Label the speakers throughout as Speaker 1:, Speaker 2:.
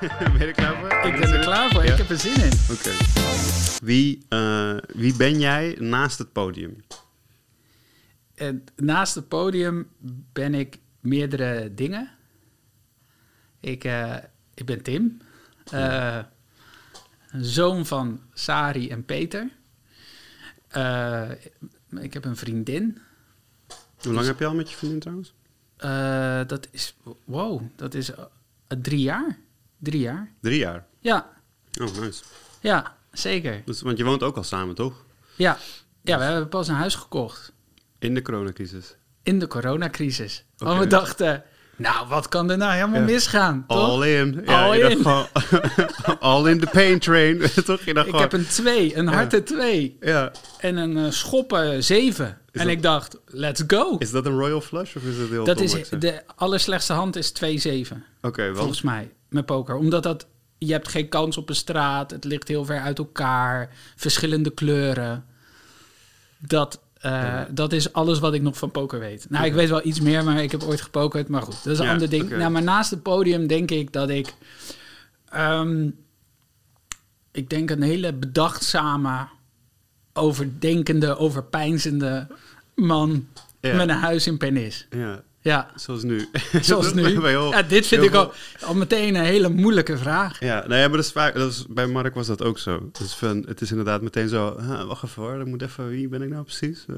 Speaker 1: ben je er klaar voor?
Speaker 2: Ik ben er klaar voor,
Speaker 1: Ja.
Speaker 2: ik heb er zin in.
Speaker 1: Oké. Wie, eh, wie ben jij naast het podium?
Speaker 2: En naast het podium ben ik meerdere dingen. Ik, eh, ik ben Tim, eh, zoon van Sari en Peter. Eh, ik heb een vriendin.
Speaker 1: Hoe
Speaker 2: Dus-
Speaker 1: lang heb je al met je vriendin trouwens?
Speaker 2: Eh, dat is, wow, dat is eh, drie jaar. Drie jaar.
Speaker 1: Drie jaar.
Speaker 2: Ja,
Speaker 1: Oh, nice.
Speaker 2: ja, zeker.
Speaker 1: Dus, want je woont ook al samen, toch?
Speaker 2: Ja. ja, we hebben pas een huis gekocht.
Speaker 1: In de coronacrisis.
Speaker 2: in de coronacrisis. Want
Speaker 1: Oké.
Speaker 2: we dachten, nou, wat kan er nou helemaal
Speaker 1: Ja.
Speaker 2: misgaan? Toch?
Speaker 1: All in. Ja,
Speaker 2: All
Speaker 1: je dacht
Speaker 2: in.
Speaker 1: gewoon- all in the pain train. toch? Je dacht
Speaker 2: Ik
Speaker 1: gewoon-
Speaker 2: heb een 2, een harte 2
Speaker 1: Ja.
Speaker 2: en een eh, schoppen 7. En
Speaker 1: dat-
Speaker 2: ik dacht, let's go.
Speaker 1: Is dat een royal flush of is dat heel
Speaker 2: dat
Speaker 1: dom,
Speaker 2: is
Speaker 1: wat ik zeg?
Speaker 2: de allerslechtste hand is 2-7,
Speaker 1: Oké, wel.
Speaker 2: volgens mij, met poker. Omdat dat, je hebt geen kans op een straat, het ligt heel ver uit elkaar, verschillende kleuren. Dat, eh, dat is alles wat ik nog van poker weet. Nou, ik weet wel iets meer, maar ik heb ooit gepokerd. Maar goed, dat is een
Speaker 1: Ja,
Speaker 2: ander ding.
Speaker 1: oké.
Speaker 2: Nou, maar naast het podium denk ik dat ik... ehm, ik denk een hele bedachtzame, overdenkende, overpijnzende man...
Speaker 1: Ja.
Speaker 2: met een huis in Pernis.
Speaker 1: Ja,
Speaker 2: Ja,
Speaker 1: zoals nu.
Speaker 2: zoals nu.
Speaker 1: Bij heel-
Speaker 2: Ja, dit vind
Speaker 1: heel
Speaker 2: ik al,
Speaker 1: veel-
Speaker 2: al meteen een hele moeilijke vraag.
Speaker 1: Ja, nee, maar dat is vaak, dat is, bij Mark was dat ook zo. Dus van, het is inderdaad meteen zo, "Ah, wacht even hoor, dat moet even, wie ben ik nou precies? Eh,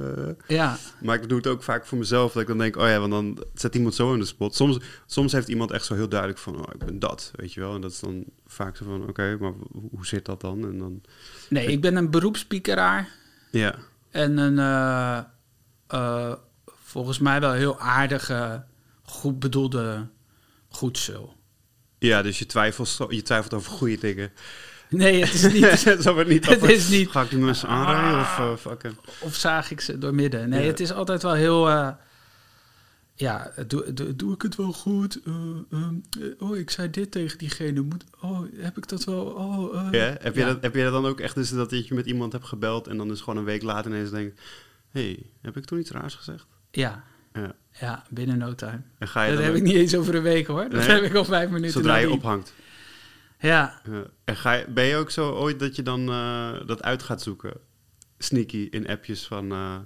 Speaker 2: Ja,
Speaker 1: maar ik doe het ook vaak voor mezelf, dat ik dan denk, oh ja, want dan zet iemand zo in de spot. Soms, soms heeft iemand echt zo heel duidelijk van, oh, ik ben dat, weet je wel. En dat is dan vaak zo van, oké, maar hoe- hoe zit dat dan? En dan,
Speaker 2: nee, ik ben een beroepspiekeraar
Speaker 1: ja,
Speaker 2: en een eh, eh, volgens mij wel heel aardige, goed bedoelde goedsul.
Speaker 1: ja dus je twijfelt, zo- je twijfelt over goede dingen.
Speaker 2: Nee, het is niet.
Speaker 1: Zo wordt niet
Speaker 2: Het
Speaker 1: over,
Speaker 2: is niet-
Speaker 1: Ga ik die mensen aanrijden of eh, fucken?
Speaker 2: of zaag ik ze doormidden? Nee,
Speaker 1: Ja.
Speaker 2: het is altijd wel heel. eh, ja, doe, doe, doe ik het wel goed? Eh, ehm, eh, oh, ik zei dit tegen diegene. Moet, oh, heb ik dat wel? Oh, eh.
Speaker 1: Ja, heb, je
Speaker 2: Ja.
Speaker 1: Dat, heb je dat dan ook echt dus dat je met iemand hebt gebeld en dan dus gewoon een week later ineens denkt... Hé, hey, heb ik toen iets raars gezegd?
Speaker 2: Ja,
Speaker 1: Ja.
Speaker 2: ja, binnen no time.
Speaker 1: En ga je
Speaker 2: Dat
Speaker 1: dan
Speaker 2: heb
Speaker 1: ook-
Speaker 2: ik niet eens over een week hoor. Dat
Speaker 1: Nee?
Speaker 2: heb ik al vijf minuten.
Speaker 1: zodra je
Speaker 2: nadien.
Speaker 1: ophangt.
Speaker 2: Ja,
Speaker 1: Ja. En ga je, ben je ook zo ooit dat je dan eh, dat uit gaat zoeken? Sneaky in appjes van... eh,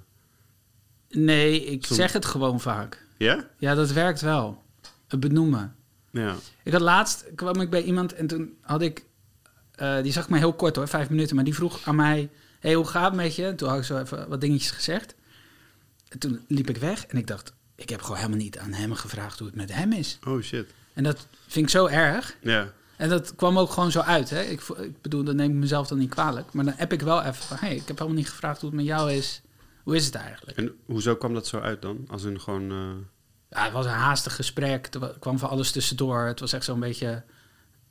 Speaker 2: nee, ik
Speaker 1: Sorry.
Speaker 2: zeg het gewoon vaak.
Speaker 1: Ja?
Speaker 2: Ja, dat werkt wel. Het benoemen.
Speaker 1: Ja.
Speaker 2: Ik had laatst, kwam ik bij iemand en toen had ik, eh, die zag mij heel kort hoor, vijf minuten, maar die vroeg aan mij, hé, hoe gaat het met je? En toen had ik zo even wat dingetjes gezegd. En toen liep ik weg en ik dacht, ik heb gewoon helemaal niet aan hem gevraagd hoe het met hem is.
Speaker 1: Oh shit.
Speaker 2: En dat vind ik zo erg.
Speaker 1: Ja.
Speaker 2: En dat kwam ook gewoon zo uit. Hè? Ik, vo- ik bedoel, dat neem ik mezelf dan niet kwalijk. Maar dan app ik wel even van... hey, ik heb helemaal niet gevraagd hoe het met jou is. Hoe is het eigenlijk?
Speaker 1: En hoezo kwam dat zo uit dan? Als een gewoon... eh,
Speaker 2: Ja, het was een haastig gesprek. Er wa- kwam van alles tussendoor. Het was echt zo'n beetje...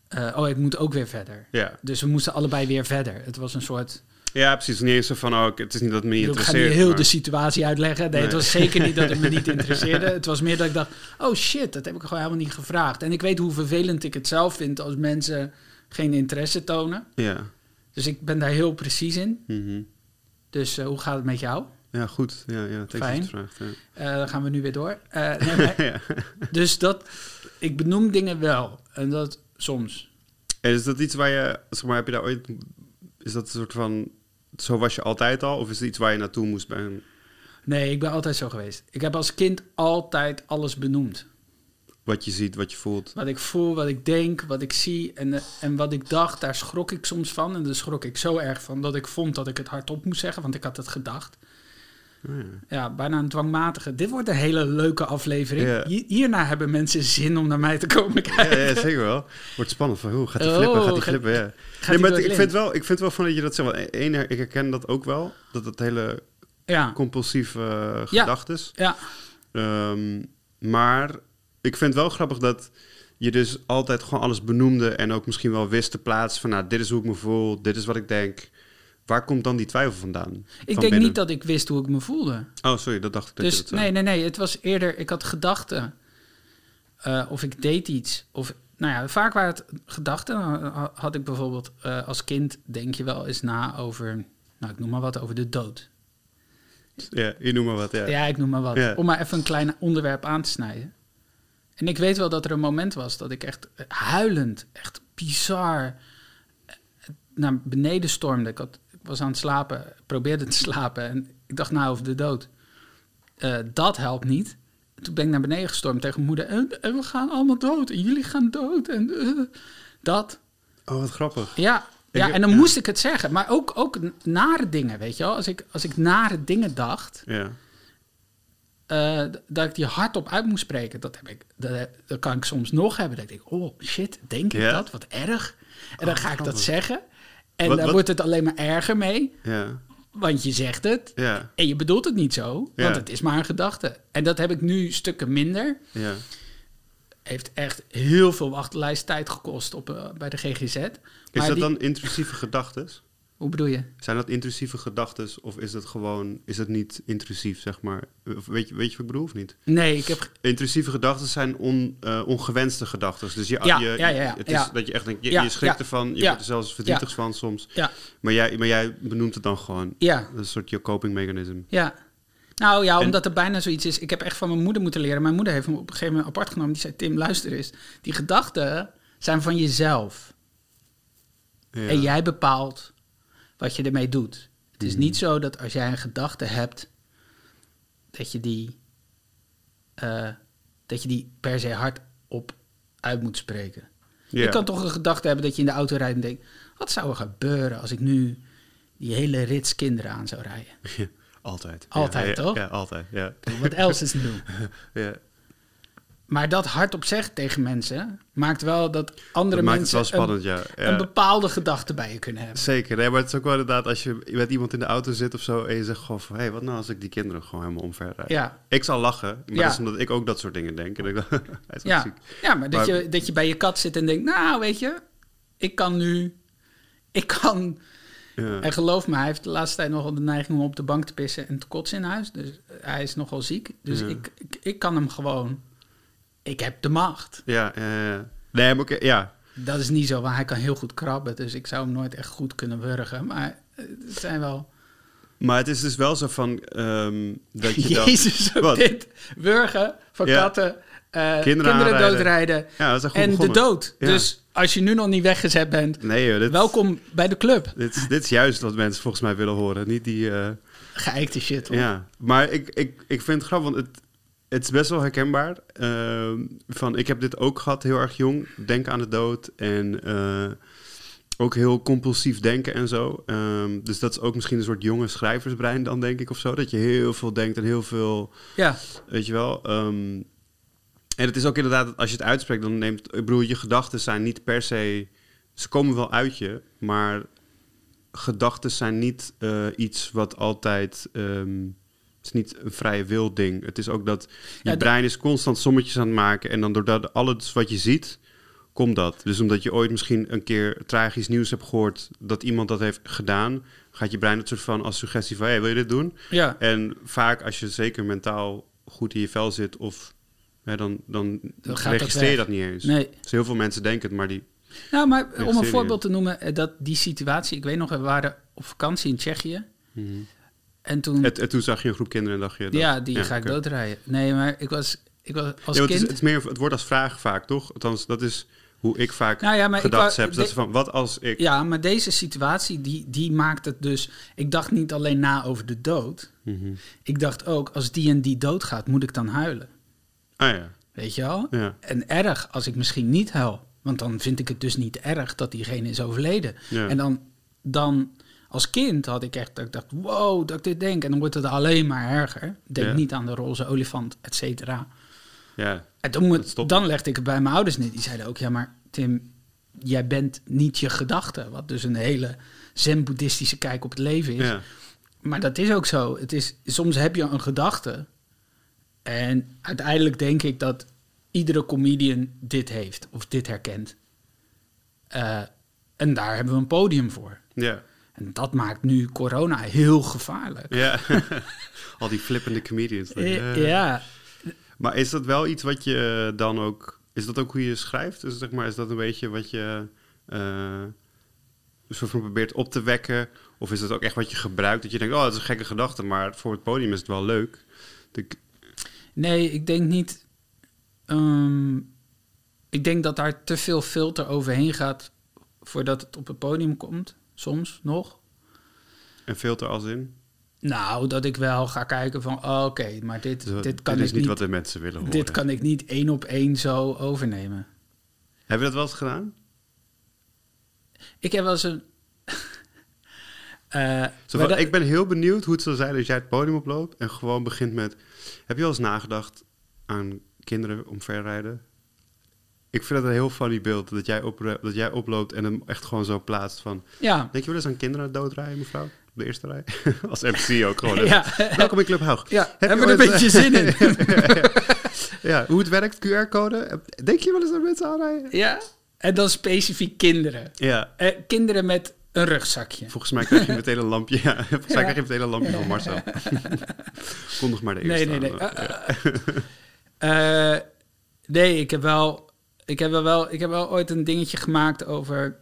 Speaker 2: eh, oh, ik moet ook weer verder.
Speaker 1: ja.
Speaker 2: Dus we moesten allebei weer verder. Het was een soort...
Speaker 1: ja, precies. Niet eens zo van, oh, ik- het is niet dat het me niet
Speaker 2: Ik ga nu
Speaker 1: interesseert.
Speaker 2: heel dus-
Speaker 1: maar-
Speaker 2: de situatie uitleggen. Nee, het
Speaker 1: Nee.
Speaker 2: was zeker niet dat het me niet interesseerde. Het was meer dat ik dacht... oh shit, dat heb ik gewoon helemaal niet gevraagd. En ik weet hoe vervelend ik het zelf vind... als mensen geen interesse tonen.
Speaker 1: Ja.
Speaker 2: Dus ik ben daar heel precies in.
Speaker 1: Mhm.
Speaker 2: Dus eh, hoe gaat het met jou?
Speaker 1: Ja, goed. Ja, ja. thanks
Speaker 2: Fijn.
Speaker 1: dat je het vraagt, ja.
Speaker 2: Eh, dan gaan we nu weer door. Eh, nee, maar-
Speaker 1: ja.
Speaker 2: dus dat, ik benoem dingen wel. En dat soms.
Speaker 1: En is dat iets waar je, zeg maar, heb je daar ooit, is dat een soort van, zo was je altijd al? Of is het iets waar je naartoe moest bij een-
Speaker 2: Nee, ik ben altijd zo geweest. Ik heb als kind altijd alles benoemd.
Speaker 1: wat je ziet, wat je voelt?
Speaker 2: Wat ik voel, wat ik denk, wat ik zie en, eh, en wat ik dacht, daar schrok ik soms van. En daar schrok ik zo erg van dat ik vond dat ik het hardop moest zeggen, want ik had het gedacht.
Speaker 1: Oh ja.
Speaker 2: Ja, bijna een dwangmatige. Dit wordt een hele leuke aflevering.
Speaker 1: Ja.
Speaker 2: Hi- Hierna hebben mensen zin om naar mij te komen kijken.
Speaker 1: Ja, ja, zeker wel. Wordt spannend van, hoe gaat die
Speaker 2: Oh,
Speaker 1: flippen, gaat die
Speaker 2: gaat-
Speaker 1: flippen, ja.
Speaker 2: Gaat
Speaker 1: nee, maar
Speaker 2: die door
Speaker 1: het-
Speaker 2: het
Speaker 1: ik
Speaker 2: lint?
Speaker 1: vind, wel, ik vind wel van dat je dat zegt, want één, ik herken dat ook wel, dat het hele
Speaker 2: Ja,
Speaker 1: compulsieve eh,
Speaker 2: Ja.
Speaker 1: gedachtes.
Speaker 2: ja,
Speaker 1: Ehm, maar ik vind het wel grappig dat je dus altijd gewoon alles benoemde en ook misschien wel wist te plaatsen van, nou, dit is hoe ik me voel, dit is wat ik denk. Waar komt dan die twijfel vandaan?
Speaker 2: ik denk niet dat ik wist hoe ik me voelde.
Speaker 1: Oh, sorry, dat dacht ik dat je
Speaker 2: Dus
Speaker 1: dat zei.
Speaker 2: nee, nee, nee. Het was eerder, ik had gedachten. eh, of ik deed iets. Of, nou ja, vaak waren het gedachten. Dan ha- Had ik bijvoorbeeld eh, als kind, denk je wel eens na over, nou ik noem maar wat, over de dood.
Speaker 1: Ja, je noem maar wat, ja.
Speaker 2: Ja, ik noem maar wat.
Speaker 1: Ja.
Speaker 2: Om maar even een klein onderwerp aan te snijden. En ik weet wel dat er een moment was dat ik echt eh, huilend, echt bizar eh, naar beneden stormde. Ik, had, ik was aan het slapen, probeerde te slapen en ik dacht nou over de dood. Eh, dat helpt niet. Toen ben ik naar beneden gestormd tegen mijn moeder. En, en we gaan allemaal dood en jullie gaan dood. En eh, dat.
Speaker 1: Oh, wat grappig.
Speaker 2: Ja, ja
Speaker 1: Ik-
Speaker 2: en dan
Speaker 1: ja.
Speaker 2: moest ik het zeggen. Maar ook, ook nare dingen, weet je wel. Als ik, als ik nare dingen dacht,
Speaker 1: Ja.
Speaker 2: eh, d- dat ik die hardop uit moest spreken, dat, heb ik, dat, he- dat kan ik soms nog hebben. Dat ik denk, oh shit, denk ik
Speaker 1: Ja.
Speaker 2: dat? Wat erg. En dan ga ik dat
Speaker 1: grappig.
Speaker 2: zeggen. En
Speaker 1: Wat-
Speaker 2: dan
Speaker 1: wat-
Speaker 2: wordt het alleen maar erger mee,
Speaker 1: Ja.
Speaker 2: want je zegt het.
Speaker 1: Ja.
Speaker 2: En je bedoelt het niet zo, want
Speaker 1: Ja.
Speaker 2: het is maar een gedachte. En dat heb ik nu stukken minder.
Speaker 1: Ja.
Speaker 2: Heeft echt heel veel wachtlijsttijd gekost op, eh, bij de GGZ. Maar
Speaker 1: Is dat
Speaker 2: die-
Speaker 1: dan intrusieve gedachten?
Speaker 2: Hoe bedoel je?
Speaker 1: Zijn dat intrusieve gedachten of is het gewoon, is het niet intrusief, zeg maar? Of Weet je, weet je wat ik bedoel of niet?
Speaker 2: Nee, ik heb
Speaker 1: Intrusieve gedachten zijn on, eh, ongewenste gedachten. Dus je,
Speaker 2: Ja,
Speaker 1: je,
Speaker 2: ja, ja, ja.
Speaker 1: het is
Speaker 2: Ja.
Speaker 1: dat je echt denkt, je,
Speaker 2: Ja,
Speaker 1: je schrikt
Speaker 2: ja,
Speaker 1: ervan, je
Speaker 2: ja.
Speaker 1: wordt er zelfs verdrietig van soms.
Speaker 2: Ja,
Speaker 1: Maar jij, maar jij benoemt het dan gewoon.
Speaker 2: ja,
Speaker 1: Dat is een soort je coping mechanism.
Speaker 2: ja. Nou ja,
Speaker 1: En-
Speaker 2: omdat er bijna zoiets is. Ik heb echt van mijn moeder moeten leren. Mijn moeder heeft me op een gegeven moment apart genomen. Die zei, Tim, luister eens. Die gedachten zijn van jezelf.
Speaker 1: Ja.
Speaker 2: En jij bepaalt wat je ermee doet. Het
Speaker 1: Mhm.
Speaker 2: is niet zo dat als jij een gedachte hebt, dat je die, eh, dat je die per se hardop uit moet spreken.
Speaker 1: Ja.
Speaker 2: Je kan toch een gedachte hebben dat je in de auto rijdt en denkt... wat zou er gebeuren als ik nu die hele rits kinderen aan zou rijden?
Speaker 1: Altijd.
Speaker 2: Altijd,
Speaker 1: Ja, ja,
Speaker 2: toch?
Speaker 1: Ja, altijd. Ja.
Speaker 2: Wat else is te doen?
Speaker 1: ja.
Speaker 2: Maar dat hardop zeggen tegen mensen maakt wel dat andere
Speaker 1: Dat maakt het
Speaker 2: mensen
Speaker 1: wel spannend,
Speaker 2: een,
Speaker 1: ja. Ja.
Speaker 2: een bepaalde gedachte bij je kunnen hebben.
Speaker 1: Zeker, nee, maar het is ook wel inderdaad als je met iemand in de auto zit of zo en je zegt gewoon van, hé, wat nou als ik die kinderen gewoon helemaal omver rijd?
Speaker 2: Ja.
Speaker 1: Ik zal lachen, maar
Speaker 2: Ja.
Speaker 1: dat is omdat ik ook dat soort dingen denk. En ik dacht, hij is wel
Speaker 2: Ja,
Speaker 1: ziek.
Speaker 2: ja maar, dat,
Speaker 1: Maar-
Speaker 2: je, dat je bij je kat zit en denkt, nou weet je, ik kan nu, ik kan.
Speaker 1: Ja.
Speaker 2: En geloof me, hij heeft de laatste tijd nogal de neiging om op de bank te pissen en te kotsen in huis. Dus eh, hij is nogal ziek. Dus
Speaker 1: Ja.
Speaker 2: ik, ik, ik kan hem gewoon, ik heb de macht.
Speaker 1: Ja, ja, ja. Nee, maar oké, ja.
Speaker 2: Dat is niet zo, want hij kan heel goed krabben. Dus ik zou hem nooit echt goed kunnen wurgen. Maar eh, het zijn wel...
Speaker 1: Maar het is dus wel zo van ehm, dat je dan...
Speaker 2: Jezus, ook
Speaker 1: Wat?
Speaker 2: dit. Wurgen van
Speaker 1: Ja.
Speaker 2: katten. eh, kinderen
Speaker 1: Kinderen aanrijden.
Speaker 2: doodrijden.
Speaker 1: Ja, we zijn goed
Speaker 2: en
Speaker 1: begonnen.
Speaker 2: de dood.
Speaker 1: Ja.
Speaker 2: Dus als je nu nog niet weggezet bent,
Speaker 1: Nee, joh, dit,
Speaker 2: welkom bij de club.
Speaker 1: Dit, is- dit is juist wat mensen volgens mij willen horen. Niet die... eh,
Speaker 2: Geëikte shit, hoor.
Speaker 1: Ja, maar ik, ik, ik vind het grappig, want het, het is best wel herkenbaar. Ehm, van, ik heb dit ook gehad heel erg jong. Denk aan de dood en eh, ook heel compulsief denken en zo. Ehm, dus dat is ook misschien een soort jonge schrijversbrein dan, denk ik, of zo. Dat je heel veel denkt en heel veel,
Speaker 2: Ja.
Speaker 1: weet je wel... ehm, en het is ook inderdaad, dat als je het uitspreekt, dan neemt... Ik bedoel, je gedachten zijn niet per se... Ze komen wel uit je, maar gedachten zijn niet eh, iets wat altijd... ehm, het is niet een vrije wil ding. Het is ook dat je
Speaker 2: Ja, dat-
Speaker 1: brein is constant sommetjes aan het maken... en dan doordat alles wat je ziet, komt dat. Dus omdat je ooit misschien een keer tragisch nieuws hebt gehoord... dat iemand dat heeft gedaan... gaat je brein het soort van als suggestie van... hé, hey, wil je dit doen?
Speaker 2: Ja.
Speaker 1: En vaak als je zeker mentaal goed in je vel zit of hè, dan, dan,
Speaker 2: Dan gaat dat
Speaker 1: registreer je
Speaker 2: weg.
Speaker 1: dat niet eens.
Speaker 2: Nee.
Speaker 1: Dus heel veel mensen denken het, maar die...
Speaker 2: Nou, maar om een
Speaker 1: serieus.
Speaker 2: voorbeeld te noemen, eh, dat die situatie... Ik weet nog, we waren op vakantie in Tsjechië. En toen...
Speaker 1: En, en toen zag je een groep kinderen en dacht je... dat-
Speaker 2: ja, die ga ik
Speaker 1: oké.
Speaker 2: doodrijden. Nee, maar ik was, ik was als
Speaker 1: Ja, want
Speaker 2: kind...
Speaker 1: het, is, het, is meer, het wordt als vraag vaak, toch? Althans, dat is hoe ik vaak
Speaker 2: Nou ja, maar ik
Speaker 1: gedacht
Speaker 2: wou-
Speaker 1: heb. Dat
Speaker 2: de-
Speaker 1: is van, wat als ik...
Speaker 2: Ja, maar deze situatie, die, die maakt het dus... Ik dacht niet alleen na over de dood. Ik dacht ook, als die en die doodgaat, moet ik dan huilen.
Speaker 1: Ah ja,
Speaker 2: Weet je wel?
Speaker 1: Ja.
Speaker 2: En erg als ik misschien niet huil. Want dan vind ik het dus niet erg dat diegene is overleden.
Speaker 1: Ja.
Speaker 2: En dan, dan als kind had ik echt dat ik dacht, wow, dat ik dit denk. En dan wordt het alleen maar erger. Denk
Speaker 1: Ja.
Speaker 2: niet aan de roze olifant, et cetera.
Speaker 1: ja,
Speaker 2: En dan, moet-
Speaker 1: Dat stopt.
Speaker 2: dan legde ik het bij mijn ouders neer. Die zeiden ook, ja, maar Tim, jij bent niet je gedachte. Wat dus een hele zen-boeddhistische kijk op het leven is.
Speaker 1: ja.
Speaker 2: Maar dat is ook zo. Het is, soms heb je een gedachte. En uiteindelijk denk ik dat iedere comedian dit heeft. Of dit herkent. Eh, en daar hebben we een podium voor.
Speaker 1: ja.
Speaker 2: En dat maakt nu corona heel gevaarlijk.
Speaker 1: ja. Al die flippende comedians.
Speaker 2: Eh,
Speaker 1: Ja.
Speaker 2: Ja,
Speaker 1: Maar is dat wel iets wat je dan ook... Is dat ook hoe je schrijft? Dus zeg maar, is dat een beetje wat je eh, soort van probeert op te wekken? Of is dat ook echt wat je gebruikt? Dat je denkt, oh, dat is een gekke gedachte, maar voor het podium is het wel leuk. Dat ik-
Speaker 2: Nee, ik denk niet. ehm, Ik denk dat daar te veel filter overheen gaat voordat het op het podium komt. Soms nog.
Speaker 1: En filter als in?
Speaker 2: Nou, dat ik wel ga kijken van, oh, oké, maar dit,
Speaker 1: Dus
Speaker 2: dit kan
Speaker 1: dit is niet
Speaker 2: ik niet,
Speaker 1: wat de mensen willen horen.
Speaker 2: dit kan ik niet één op één zo overnemen.
Speaker 1: Hebben we dat wel eens gedaan?
Speaker 2: Ik heb wel eens een... Eh,
Speaker 1: Zo
Speaker 2: maar
Speaker 1: van,
Speaker 2: dat-
Speaker 1: Ik ben heel benieuwd hoe het zou zijn als jij het podium oploopt en gewoon begint met... Heb je wel eens nagedacht aan kinderen omverrijden? Ik vind dat een heel funny beeld, dat jij, op, dat jij oploopt en hem echt gewoon zo plaatst van...
Speaker 2: Ja,
Speaker 1: Denk je wel eens aan kinderen doodrijden, mevrouw? Op de eerste rij? als MC ook gewoon.
Speaker 2: Ja.
Speaker 1: Welkom in Club Haug.
Speaker 2: ja
Speaker 1: je
Speaker 2: hebben we er
Speaker 1: ooit-
Speaker 2: een beetje zin in.
Speaker 1: Ja, hoe het werkt, QR-code. Denk je wel eens aan mensen aanrijden?
Speaker 2: ja, en dan specifiek kinderen.
Speaker 1: Ja.
Speaker 2: Eh, kinderen met een rugzakje.
Speaker 1: Volgens mij krijg je meteen een lampje. Ja, volgens mij
Speaker 2: Ja.
Speaker 1: krijg je meteen een lampje van Marcel. Kondig maar de
Speaker 2: Nee,
Speaker 1: eerste
Speaker 2: nee, nee.
Speaker 1: aan.
Speaker 2: Eh, eh, eh, nee, ik heb wel. Ik heb wel- wel, ik heb wel ooit een dingetje gemaakt over.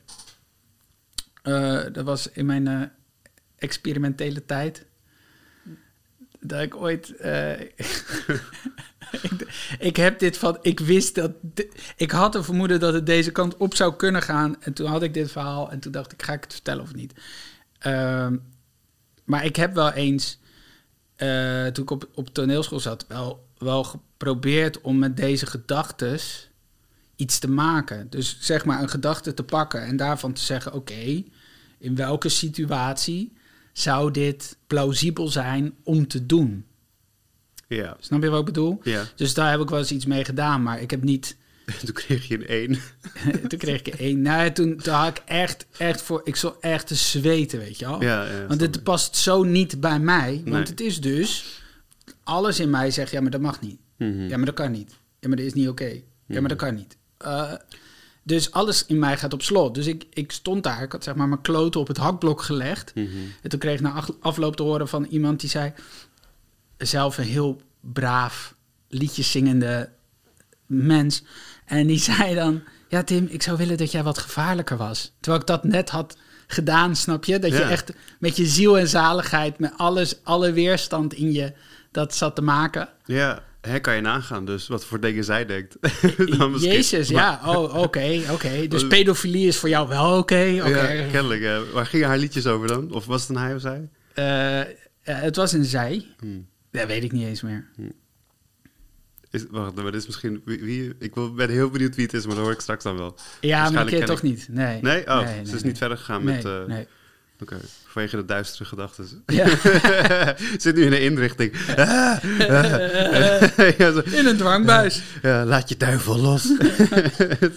Speaker 2: eh, dat was in mijn eh, experimentele tijd. Dat ik ooit. eh, ik, ik heb dit van. Ik wist dat. di- Ik had een vermoeden dat het deze kant op zou kunnen gaan. En toen had ik dit verhaal. En toen dacht ik: ga ik het vertellen of niet? Ehm, maar ik heb wel eens. eh, toen ik op, op toneelschool zat, wel, wel geprobeerd om met deze gedachtes iets te maken. Dus zeg maar een gedachte te pakken en daarvan te zeggen: oké, in welke situatie zou dit plausibel zijn om te doen?
Speaker 1: Ja.
Speaker 2: Snap je wat ik bedoel?
Speaker 1: ja.
Speaker 2: Dus daar heb ik wel eens iets mee gedaan, maar ik heb niet.
Speaker 1: Toen kreeg je een 1.
Speaker 2: toen kreeg ik er één. Nou, toen, toen had ik echt, echt voor. Ik zat echt te zweten, weet je wel.
Speaker 1: Ja, ja,
Speaker 2: Oh. Want
Speaker 1: snap
Speaker 2: het
Speaker 1: ik.
Speaker 2: past zo niet bij mij. Want
Speaker 1: Nee.
Speaker 2: het is dus... Alles in mij zegt, ja, maar dat mag niet.
Speaker 1: Mhm.
Speaker 2: Ja, maar dat kan niet. Ja, maar dat is niet oké. Ja, maar dat
Speaker 1: Hm.
Speaker 2: kan niet. Eh, dus alles in mij gaat op slot. Dus ik, ik stond daar, ik had zeg maar mijn kloten op het hakblok gelegd.
Speaker 1: Mhm.
Speaker 2: En toen kreeg ik na af- afloop te horen van iemand die zei... zelf een heel braaf liedjeszingende mens. En die zei dan... Ja, Tim, ik zou willen dat jij wat gevaarlijker was. Terwijl ik dat net had gedaan, snap je? Dat je
Speaker 1: Ja.
Speaker 2: echt met je ziel en zaligheid... met alles, alle weerstand in je dat zat te maken.
Speaker 1: Ja, hè, kan je nagaan dus wat voor dingen zij denkt. Dan misschien.
Speaker 2: Jezus, ja. Oh, oké, oké. Dus pedofilie is voor jou wel oké. oké.
Speaker 1: Ja, kennelijk. ja. Waar gingen haar liedjes over dan? Of was het een hij of zij?
Speaker 2: Eh, eh, het was een zij.
Speaker 1: Hmm.
Speaker 2: Dat weet ik niet eens meer.
Speaker 1: Is, wacht, maar dit is misschien... Wie, wie- ik wil- ben heel benieuwd wie het is, maar dat hoor ik straks dan wel.
Speaker 2: Ja, maar
Speaker 1: Waarschijnlijk
Speaker 2: dat ken je
Speaker 1: ken
Speaker 2: toch
Speaker 1: ik-
Speaker 2: niet? Nee.
Speaker 1: Nee? Oh,
Speaker 2: Nee,
Speaker 1: ze is
Speaker 2: nee,
Speaker 1: niet
Speaker 2: nee.
Speaker 1: verder gegaan
Speaker 2: Nee,
Speaker 1: met... eh,
Speaker 2: nee.
Speaker 1: Oké, vanwege de duistere gedachten.
Speaker 2: Ja.
Speaker 1: Zit nu in een inrichting. Ah, ah. ja, zo,
Speaker 2: In een dwangbuis.
Speaker 1: ja, laat je duivel los.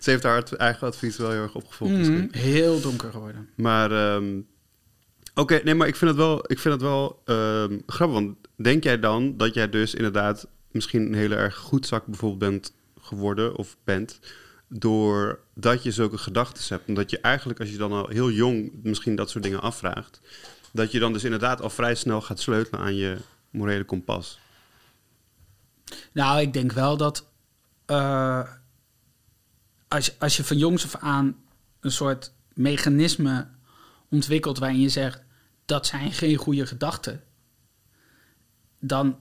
Speaker 1: Ze heeft haar ad- eigen advies wel heel erg opgevolgd.
Speaker 2: Mhm.
Speaker 1: misschien.
Speaker 2: Heel donker geworden.
Speaker 1: Maar ehm, oké, nee, maar ik vind het wel, ik vind het wel ehm, grappig. Want denk jij dan dat jij dus inderdaad misschien een heel erg goed zak bijvoorbeeld bent geworden of bent doordat je zulke gedachten hebt? Omdat je eigenlijk als je dan al heel jong misschien dat soort dingen afvraagt, dat je dan dus inderdaad al vrij snel gaat sleutelen aan je morele kompas.
Speaker 2: Nou, ik denk wel dat eh, als, je- als je van jongs af aan een soort mechanisme ontwikkelt waarin je zegt dat zijn geen goede gedachten, dan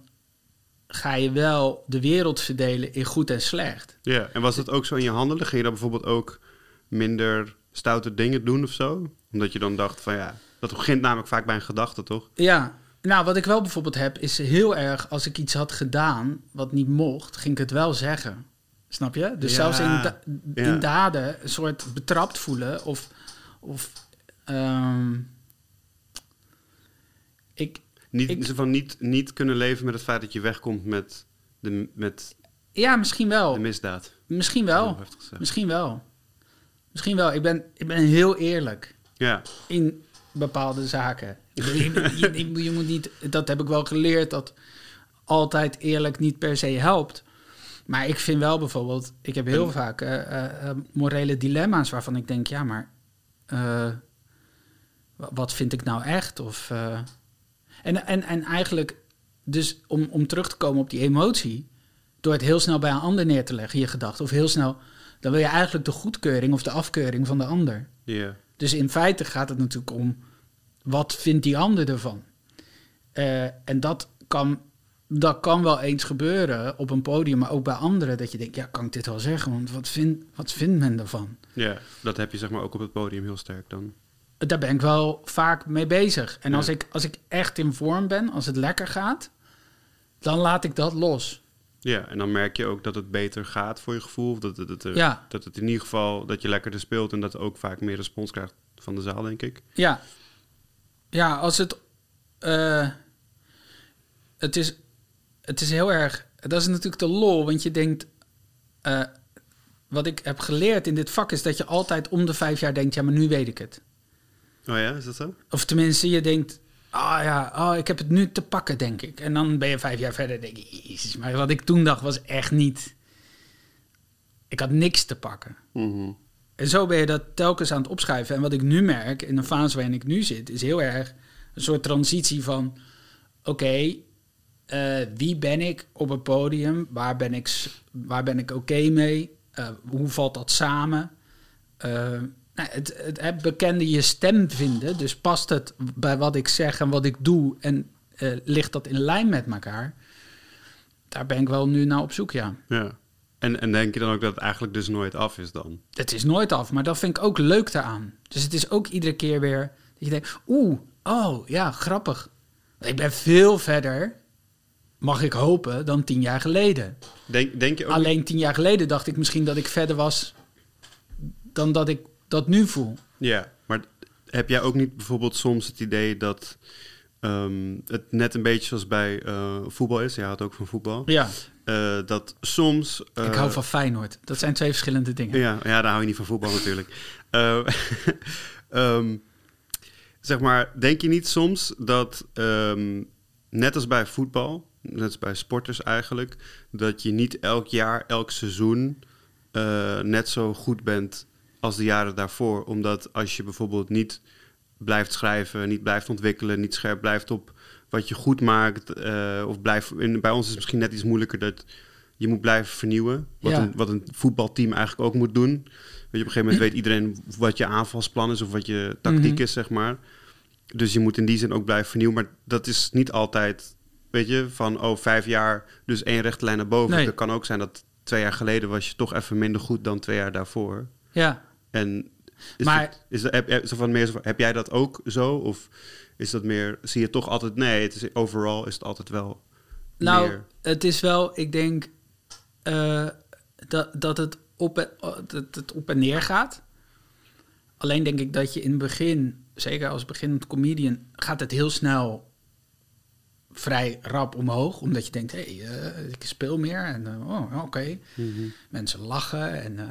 Speaker 2: ga je wel de wereld verdelen in goed en slecht.
Speaker 1: Ja. En was dat ook zo in je handelen? Ging je dan bijvoorbeeld ook minder stoute dingen doen of zo? Omdat je dan dacht van ja, dat begint namelijk vaak bij een gedachte, toch?
Speaker 2: Ja, nou wat ik wel bijvoorbeeld heb is heel erg als ik iets had gedaan wat niet mocht, ging ik het wel zeggen. Snap je? Dus
Speaker 1: Ja,
Speaker 2: zelfs in, da-
Speaker 1: ja.
Speaker 2: in daden een soort betrapt voelen of. of ehm, ik,
Speaker 1: Niet,
Speaker 2: Ik-
Speaker 1: ze van niet, niet kunnen leven met het feit dat je wegkomt met de, met
Speaker 2: ja, misschien wel.
Speaker 1: de misdaad.
Speaker 2: Misschien
Speaker 1: Heel
Speaker 2: wel.
Speaker 1: heftig gezegd.
Speaker 2: Misschien wel. Misschien wel. Ik ben, ik ben heel eerlijk.
Speaker 1: Ja,
Speaker 2: in bepaalde zaken. Ik bedoel, je, je- je moet niet, dat heb ik wel geleerd, dat altijd eerlijk niet per se helpt. Maar ik vind wel bijvoorbeeld, ik heb heel vaak eh, eh, eh, morele dilemma's waarvan ik denk, ja, maar eh, wa- wat vind ik nou echt? Of, eh, en, en, en eigenlijk, dus om, om terug te komen op die emotie, door het heel snel bij een ander neer te leggen, je gedachte, of heel snel, dan wil je eigenlijk de goedkeuring of de afkeuring van de ander.
Speaker 1: ja.
Speaker 2: Dus in feite gaat het natuurlijk om wat vindt die ander ervan. Eh, en dat kan dat kan wel eens gebeuren op een podium, maar ook bij anderen. Dat je denkt, ja, kan ik dit wel zeggen? Want wat, vind, wat vindt men ervan?
Speaker 1: Ja, dat heb je zeg maar ook op het podium heel sterk dan.
Speaker 2: Daar ben ik wel vaak mee bezig. En
Speaker 1: Ja.
Speaker 2: als, ik, als ik echt in vorm ben, als het lekker gaat, dan laat ik dat los.
Speaker 1: Ja, en dan merk je ook dat het beter gaat voor je gevoel. Of Dat, dat, dat, er-
Speaker 2: Ja.
Speaker 1: dat het in ieder geval, dat je lekkerder speelt en dat ook vaak meer respons krijgt van de zaal, denk ik.
Speaker 2: Ja. Ja, als het... eh, het, is, het is heel erg... Dat is natuurlijk de lol, want je denkt... eh, wat ik heb geleerd in dit vak is dat je altijd om de vijf jaar denkt... ja, maar nu weet ik het.
Speaker 1: Oh ja, is dat zo?
Speaker 2: Of tenminste, je denkt... ah ja, ah, ik heb het nu te pakken, denk ik. En dan ben je vijf jaar verder en denk je... Jezus, maar wat ik toen dacht was echt niet... Ik had niks te pakken.
Speaker 1: Mhm.
Speaker 2: En zo ben je dat telkens aan het opschuiven. En wat ik nu merk, in de fase waarin ik nu zit, is heel erg een soort transitie van: oké, eh, wie ben ik op het podium? Waar ben ik, s- waar ben ik oké mee? Eh, hoe valt dat samen? Eh, nou, het, het, het bekende je stem vinden, dus past het bij wat ik zeg en wat ik doe en eh, ligt dat in lijn met elkaar? Daar ben ik wel nu naar op zoek, ja.
Speaker 1: Ja. En, en denk je dan ook dat het eigenlijk dus nooit af is dan?
Speaker 2: Het is nooit af, maar dat vind ik ook leuk daaraan. Dus het is ook iedere keer weer dat je denkt, oeh, oh ja, grappig. Ik ben veel verder, mag ik hopen, dan tien jaar geleden.
Speaker 1: Denk, denk je ook...
Speaker 2: Alleen tien jaar geleden dacht ik misschien dat ik verder was dan dat ik dat nu voel.
Speaker 1: Ja, maar heb jij ook niet bijvoorbeeld soms het idee dat ehm, het net een beetje zoals bij eh, voetbal is? Jij houdt ook van voetbal.
Speaker 2: Ja,
Speaker 1: Eh, dat soms...
Speaker 2: ik
Speaker 1: eh,
Speaker 2: hou van Feyenoord. Dat zijn twee verschillende dingen.
Speaker 1: Ja, ja, daar hou je niet van voetbal natuurlijk. Eh, ehm, zeg maar, denk je niet soms dat, ehm, net als bij voetbal, net als bij sporters eigenlijk, dat je niet elk jaar, elk seizoen eh, net zo goed bent als de jaren daarvoor? Omdat als je bijvoorbeeld niet blijft schrijven, niet blijft ontwikkelen, niet scherp blijft op wat je goed maakt, eh, of blijft, in, bij ons is het misschien net iets moeilijker dat je moet blijven vernieuwen, wat,
Speaker 2: Ja.
Speaker 1: een, wat een voetbalteam eigenlijk ook moet doen. Weet je, op een gegeven moment weet iedereen wat je aanvalsplan is of wat je tactiek
Speaker 2: Mm. Mhm.
Speaker 1: is, zeg maar. Dus je moet in die zin ook blijven vernieuwen. Maar dat is niet altijd, weet je, van oh, vijf jaar, dus één rechte lijn naar boven.
Speaker 2: Nee.
Speaker 1: Dat kan ook zijn dat twee jaar geleden was je toch even minder goed dan twee jaar daarvoor.
Speaker 2: Ja,
Speaker 1: En is
Speaker 2: Maar-
Speaker 1: het- is dat, heb, heb- zo van meer, zo van, heb jij dat ook zo? Of is dat meer, zie je toch altijd, nee, het is, overal is het altijd wel
Speaker 2: nou,
Speaker 1: meer.
Speaker 2: het is wel, ik denk eh, dat, dat, het op en, oh, dat het op en neer gaat. Alleen denk ik dat je in het begin, zeker als beginnend comedian, gaat het heel snel vrij rap omhoog. Omdat je denkt, hé, hey, eh, ik speel meer en eh, oh, oké. Mensen lachen en eh,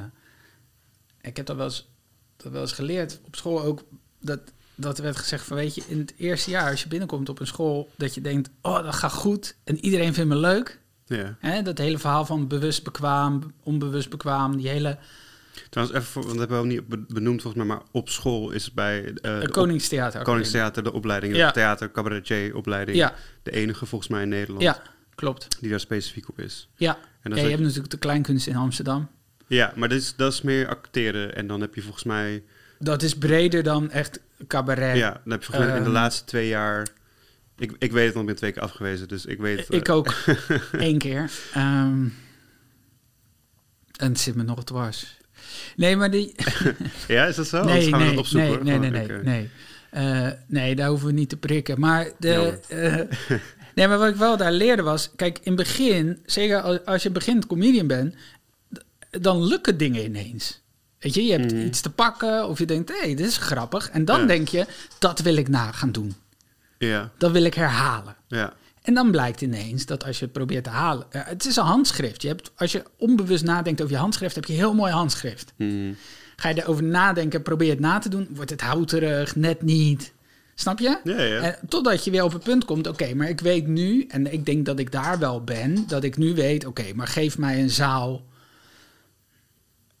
Speaker 2: ik heb dat wel, eens, dat wel eens geleerd op school ook. Dat, dat er werd gezegd van, weet je, in het eerste jaar als je binnenkomt op een school... dat je denkt, oh, dat gaat goed en iedereen vindt me leuk.
Speaker 1: Ja.
Speaker 2: Hè, dat hele verhaal van bewust bekwaam, onbewust bekwaam, die hele
Speaker 1: Trouwens, even, voor- want dat hebben we ook niet be- benoemd volgens mij, maar op school is het bij eh,
Speaker 2: eh,
Speaker 1: de op-
Speaker 2: Koningstheater.
Speaker 1: Koningstheater de opleiding,
Speaker 2: Ja.
Speaker 1: de theater cabaretier opleiding,
Speaker 2: Ja,
Speaker 1: de enige volgens mij in Nederland
Speaker 2: ja, klopt.
Speaker 1: die daar specifiek op is.
Speaker 2: Ja,
Speaker 1: En
Speaker 2: ja
Speaker 1: dat
Speaker 2: je
Speaker 1: is-
Speaker 2: hebt natuurlijk de kleinkunst in Amsterdam.
Speaker 1: ja maar dat is, dat is meer acteren en dan heb je volgens mij,
Speaker 2: Dat is breder dan echt cabaret.
Speaker 1: ja, dan heb je volgens mij in de
Speaker 2: Ehm.
Speaker 1: laatste twee jaar, ik, ik weet het, want ik ben twee keer afgewezen, dus ik weet... eh,
Speaker 2: Ik ook. Eén keer. Ehm, en het zit me nog dwars. Nee, maar die...
Speaker 1: Ja, is dat zo? Oh, Anders
Speaker 2: nee,
Speaker 1: gaan we
Speaker 2: nee,
Speaker 1: dat opzoeken.
Speaker 2: nee,
Speaker 1: hoor.
Speaker 2: nee, nee,
Speaker 1: Gewoon,
Speaker 2: nee,
Speaker 1: oké.
Speaker 2: nee. Eh, nee, daar hoeven we niet te prikken. Maar, de, eh, nee, maar wat ik wel daar leerde was... Kijk, in het begin, zeker als, als je begint comedian bent... d- dan lukken dingen ineens. Weet je, je hebt
Speaker 1: Mhm.
Speaker 2: iets te pakken of je denkt... hé, hey, dit is grappig. En dan
Speaker 1: Ja.
Speaker 2: denk je, dat wil ik na gaan doen.
Speaker 1: Ja,
Speaker 2: Dat wil ik herhalen.
Speaker 1: ja,
Speaker 2: En dan blijkt ineens dat als je het probeert te halen... eh, het is een handschrift. Je hebt, als je onbewust nadenkt over je handschrift... heb je een heel mooi handschrift.
Speaker 1: Mhm.
Speaker 2: Ga je erover nadenken, probeer het na te doen... wordt het houterig, net niet. Snap je?
Speaker 1: ja, ja.
Speaker 2: Eh, totdat je weer op het punt komt... oké, maar ik weet nu... en ik denk dat ik daar wel ben... dat ik nu weet... oké, maar geef mij een zaal...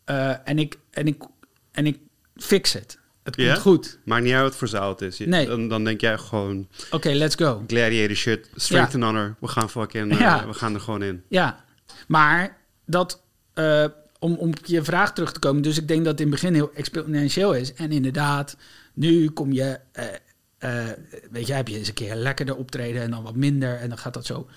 Speaker 2: eh, en, ik, en, ik, en ik fix het. Het komt
Speaker 1: Ja?
Speaker 2: goed.
Speaker 1: Maakt niet uit wat voor zaal het is. Je-
Speaker 2: Nee.
Speaker 1: dan, dan denk jij gewoon,
Speaker 2: Oké, let's go.
Speaker 1: gladiator shit, strength and honor. We gaan fucking, eh,
Speaker 2: Ja.
Speaker 1: we gaan er gewoon in.
Speaker 2: Ja, maar dat, eh, om, om op je vraag terug te komen, dus ik denk dat het in het begin heel exponentieel is. En inderdaad, nu kom je, eh, eh, weet je, heb je eens een keer lekkerder optreden en dan wat minder en dan gaat dat zo.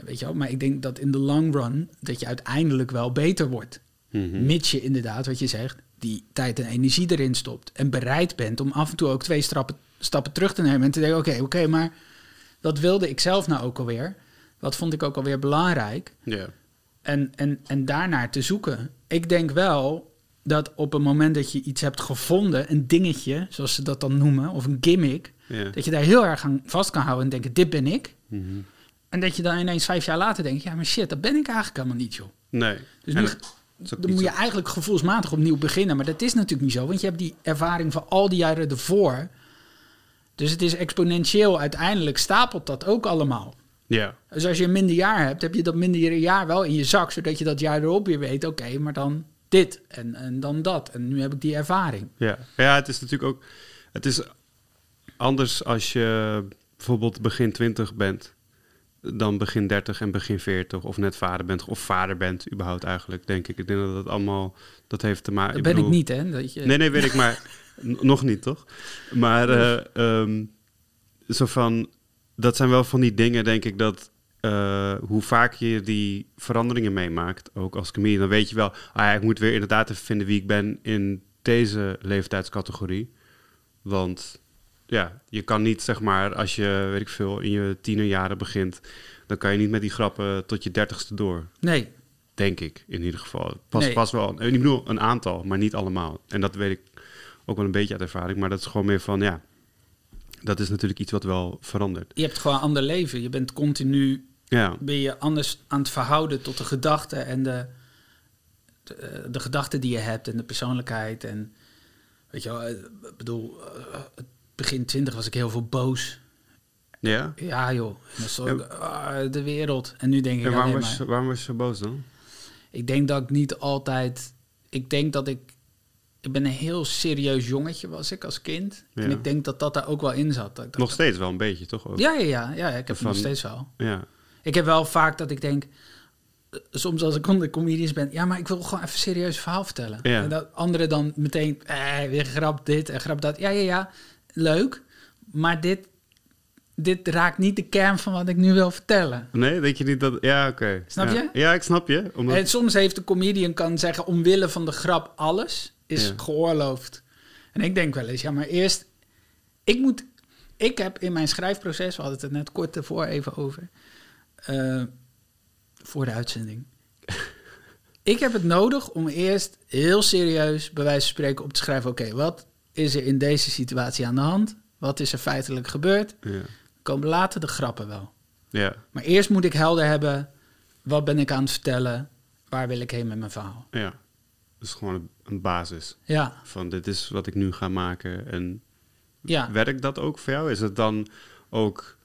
Speaker 2: Weet je wel? Maar ik denk dat in de long run dat je uiteindelijk wel beter wordt.
Speaker 1: Mhm.
Speaker 2: Mits je inderdaad, wat je zegt, die tijd en energie erin stopt. En bereid bent om af en toe ook twee stappen, stappen terug te nemen. En te denken, oké, oké, maar wat wilde ik zelf nou ook alweer? Wat vond ik ook alweer belangrijk?
Speaker 1: Ja.
Speaker 2: en, en, en daarnaar te zoeken. Ik denk wel dat op het moment dat je iets hebt gevonden, een dingetje, zoals ze dat dan noemen, of een gimmick,
Speaker 1: Ja.
Speaker 2: dat je daar heel erg aan vast kan houden en denken, dit ben ik.
Speaker 1: Mhm.
Speaker 2: En dat je dan ineens vijf jaar later denkt, ja, maar shit, dat ben ik eigenlijk helemaal niet, joh.
Speaker 1: Nee.
Speaker 2: Dus
Speaker 1: En
Speaker 2: nu,
Speaker 1: dat is ook
Speaker 2: dan
Speaker 1: niet
Speaker 2: moet je
Speaker 1: zo-
Speaker 2: eigenlijk gevoelsmatig opnieuw beginnen. Maar dat is natuurlijk niet zo, want je hebt die ervaring van al die jaren ervoor. Dus het is exponentieel. Uiteindelijk stapelt dat ook allemaal.
Speaker 1: Ja.
Speaker 2: Dus als je een minder jaar hebt, heb je dat minder jaar wel in je zak, zodat je dat jaar erop weer weet, oké, maar dan dit en, en dan dat. En nu heb ik die ervaring.
Speaker 1: Ja. ja, het is natuurlijk ook... Het is anders als je bijvoorbeeld begin 20 bent... dan begin 30 en begin 40. Of net vader bent. Of vader bent überhaupt eigenlijk, denk ik. Ik denk dat dat allemaal... Dat heeft te maken...
Speaker 2: Dat ben ik
Speaker 1: bedoel-
Speaker 2: niet, hè? Dat je,
Speaker 1: Nee, nee, weet ik maar. N- nog niet, toch? Maar eh, ehm, zo van... Dat zijn wel van die dingen, denk ik, dat... eh, hoe vaak je die veranderingen meemaakt, ook als comedian, dan weet je wel... Ah ja, ik moet weer inderdaad even vinden wie ik ben in deze leeftijdscategorie. Want ja, je kan niet, zeg maar, als je, weet ik veel, in je tienerjaren begint... dan kan je niet met die grappen tot je dertigste door.
Speaker 2: Nee,
Speaker 1: Denk ik, in ieder geval. Pas,
Speaker 2: Nee.
Speaker 1: pas wel. eh, Ik bedoel, een aantal, maar niet allemaal. En dat weet ik ook wel een beetje uit ervaring. Maar dat is gewoon meer van, ja... Dat is natuurlijk iets wat wel verandert.
Speaker 2: je hebt gewoon een ander leven. Je bent continu
Speaker 1: Ja,
Speaker 2: ben je anders aan het verhouden tot de gedachten en de, de, eh, de gedachten die je hebt en de persoonlijkheid. En weet je wel, eh, ik bedoel, eh, begin twintig was ik heel veel boos.
Speaker 1: ja?
Speaker 2: Ja, joh. En dan stond ik, ah, de wereld. En nu denk ik
Speaker 1: En waarom
Speaker 2: alleen
Speaker 1: was, je,
Speaker 2: maar...
Speaker 1: zo- waarom was je zo boos dan?
Speaker 2: Ik denk dat ik niet altijd. Ik denk dat ik. Ik ben een heel serieus jongetje was ik als kind. En
Speaker 1: Ja.
Speaker 2: ik denk dat dat daar ook wel in zat. Dat ik dacht-
Speaker 1: Nog steeds wel een beetje, toch? Ook?
Speaker 2: Ja, ja, ja, ja. Ik heb het
Speaker 1: Van-
Speaker 2: nog steeds wel.
Speaker 1: Ja.
Speaker 2: Ik heb wel vaak dat ik denk. eh, Soms als ik onder comedians ben, ja, maar ik wil gewoon even een serieus verhaal vertellen.
Speaker 1: Ja.
Speaker 2: En dat anderen dan meteen, eh, weer grap dit en grap dat. Ja, ja, ja, leuk. Maar dit, dit raakt niet de kern van wat ik nu wil vertellen.
Speaker 1: Nee, denk je niet dat... Ja, oké.
Speaker 2: Snap
Speaker 1: Ja.
Speaker 2: je?
Speaker 1: Ja, ik snap je. Omdat...
Speaker 2: En soms heeft de comedian kan zeggen, omwille van de grap, alles is
Speaker 1: Ja.
Speaker 2: geoorloofd. En ik denk wel eens, ja, maar eerst, ik moet, ik heb in mijn schrijfproces, we hadden het er net kort daarvoor even over, eh, voor de uitzending. ik heb het nodig om eerst heel serieus, bij wijze van spreken, op te schrijven, oké, wat is er in deze situatie aan de hand? Wat is er feitelijk gebeurd?
Speaker 1: Ja.
Speaker 2: Komen later de grappen wel.
Speaker 1: ja,
Speaker 2: Maar eerst moet ik helder hebben, wat ben ik aan het vertellen? Waar wil ik heen met mijn verhaal?
Speaker 1: ja. Dat is gewoon een- een basis.
Speaker 2: Ja,
Speaker 1: Van dit is wat ik nu ga maken en
Speaker 2: ja.
Speaker 1: Werkt dat ook voor jou? Is het dan ook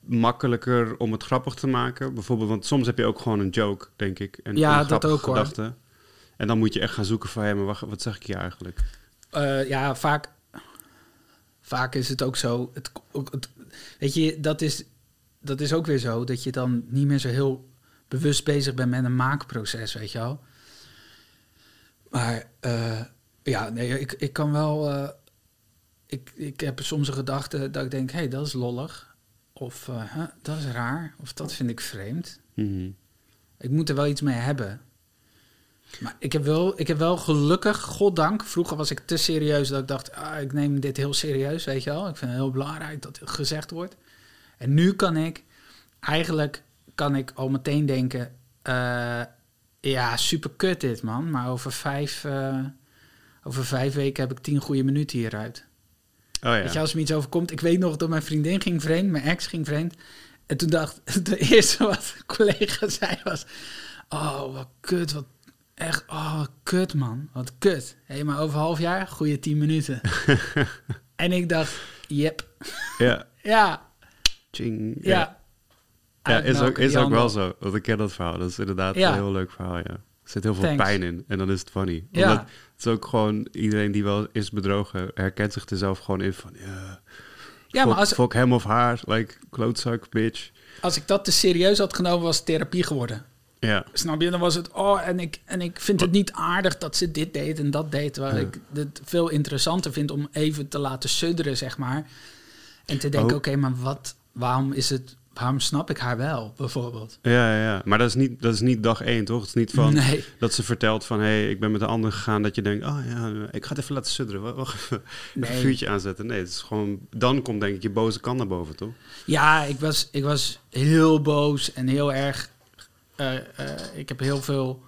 Speaker 1: makkelijker om het grappig te maken? Bijvoorbeeld, want soms heb je ook gewoon een joke, denk ik. En
Speaker 2: Ja,
Speaker 1: een
Speaker 2: dat
Speaker 1: grappige
Speaker 2: ook, hoor.
Speaker 1: gedachte. En dan moet je echt gaan zoeken van, hé, maar wacht, wat zeg ik hier eigenlijk?
Speaker 2: Eh, ja, vaak, vaak is het ook zo. Het, ook het- weet je, dat is, dat is ook weer zo dat je dan niet meer zo heel bewust bezig bent met een maakproces, weet je wel. Maar eh, ja, nee, ik, ik kan wel. eh, ik, ik heb soms een gedachte dat ik denk: hé, hey, dat is lollig. Of eh, huh, dat is raar. Of dat vind ik vreemd.
Speaker 1: Mhm.
Speaker 2: Ik moet er wel iets mee hebben. Maar ik heb wel, ik heb wel gelukkig, goddank, vroeger was ik te serieus dat ik dacht, ah, ik neem dit heel serieus, weet je wel. Ik vind het heel belangrijk dat dit gezegd wordt. En nu kan ik, eigenlijk kan ik al meteen denken, eh, ja, super kut dit man, maar over vijf, eh, over vijf weken heb ik tien goede minuten hieruit.
Speaker 1: Oh
Speaker 2: Weet je,
Speaker 1: ja.
Speaker 2: als me iets overkomt. Ik weet nog dat mijn vriendin ging vreemd, mijn ex ging vreemd. En toen dacht de eerste wat een collega zei was... Oh, wat kut, wat echt... Oh, wat kut, man. Wat kut. Hé, maar over half jaar, goede tien minuten. en ik dacht, yep.
Speaker 1: Ja,
Speaker 2: Ja,
Speaker 1: Tjing.
Speaker 2: ja.
Speaker 1: ja. ja is ook,
Speaker 2: Uitmelken,
Speaker 1: is
Speaker 2: die
Speaker 1: ook wel
Speaker 2: handel.
Speaker 1: zo. Want ik ken dat verhaal. Dat is inderdaad
Speaker 2: Ja.
Speaker 1: een heel leuk verhaal, ja. Er zit heel veel
Speaker 2: Thanks.
Speaker 1: pijn in en dan is het funny.
Speaker 2: Ja.
Speaker 1: Omdat het is ook gewoon, iedereen die wel is bedrogen, herkent zich er zelf gewoon in van, ja,
Speaker 2: Ja, maar
Speaker 1: fuck,
Speaker 2: als,
Speaker 1: fuck hem of haar, like, klootzak, bitch.
Speaker 2: als ik dat te serieus had genomen, was het therapie geworden.
Speaker 1: Ja.
Speaker 2: Snap je? Dan was het, oh, en ik, en ik vind het niet aardig dat ze dit deed en dat deed. Waar
Speaker 1: Ja.
Speaker 2: ik het veel interessanter vind om even te laten sudderen, zeg maar. En te denken,
Speaker 1: Oh.
Speaker 2: oké, maar wat, waarom is het, waarom snap ik haar wel, bijvoorbeeld?
Speaker 1: Ja, ja, ja. Maar dat is, niet, dat is niet dag één, toch? Het is niet van
Speaker 2: Nee.
Speaker 1: dat ze vertelt van... hé, hey, ik ben met een ander gegaan. Dat je denkt, oh ja, ik ga het even laten sudderen. Wa- Wacht even. Even
Speaker 2: Nee.
Speaker 1: een vuurtje aanzetten. Nee, het is gewoon... Dan komt denk ik je boze kant naar boven, toch?
Speaker 2: Ja, ik was, ik was heel boos en heel erg. eh, eh, ik heb heel veel.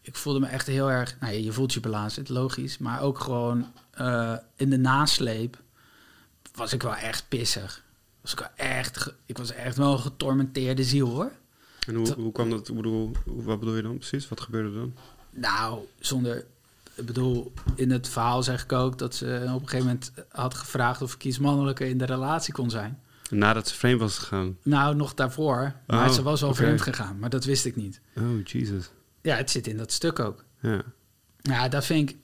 Speaker 2: Ik voelde me echt heel erg. Nou, ja, je voelt je belazerd, logisch. Maar ook gewoon eh, in de nasleep was ik wel echt pissig. Was ik, wel echt, ge- ik was echt wel een getormenteerde ziel hoor.
Speaker 1: En hoe,
Speaker 2: Dat-
Speaker 1: hoe kwam dat... Ik bedoel, wat bedoel je dan precies? Wat gebeurde er dan?
Speaker 2: Nou, zonder. Ik bedoel, in het verhaal zeg ik ook dat ze op een gegeven moment had gevraagd of ik iets mannelijker in de relatie kon zijn.
Speaker 1: Nadat ze vreemd was gegaan.
Speaker 2: Nou, nog daarvoor. Maar
Speaker 1: Oh,
Speaker 2: ze was al
Speaker 1: oké.
Speaker 2: vreemd gegaan, maar dat wist ik niet.
Speaker 1: Oh, Jesus.
Speaker 2: Ja, het zit in dat stuk ook.
Speaker 1: Ja.
Speaker 2: Ja, dat vind ik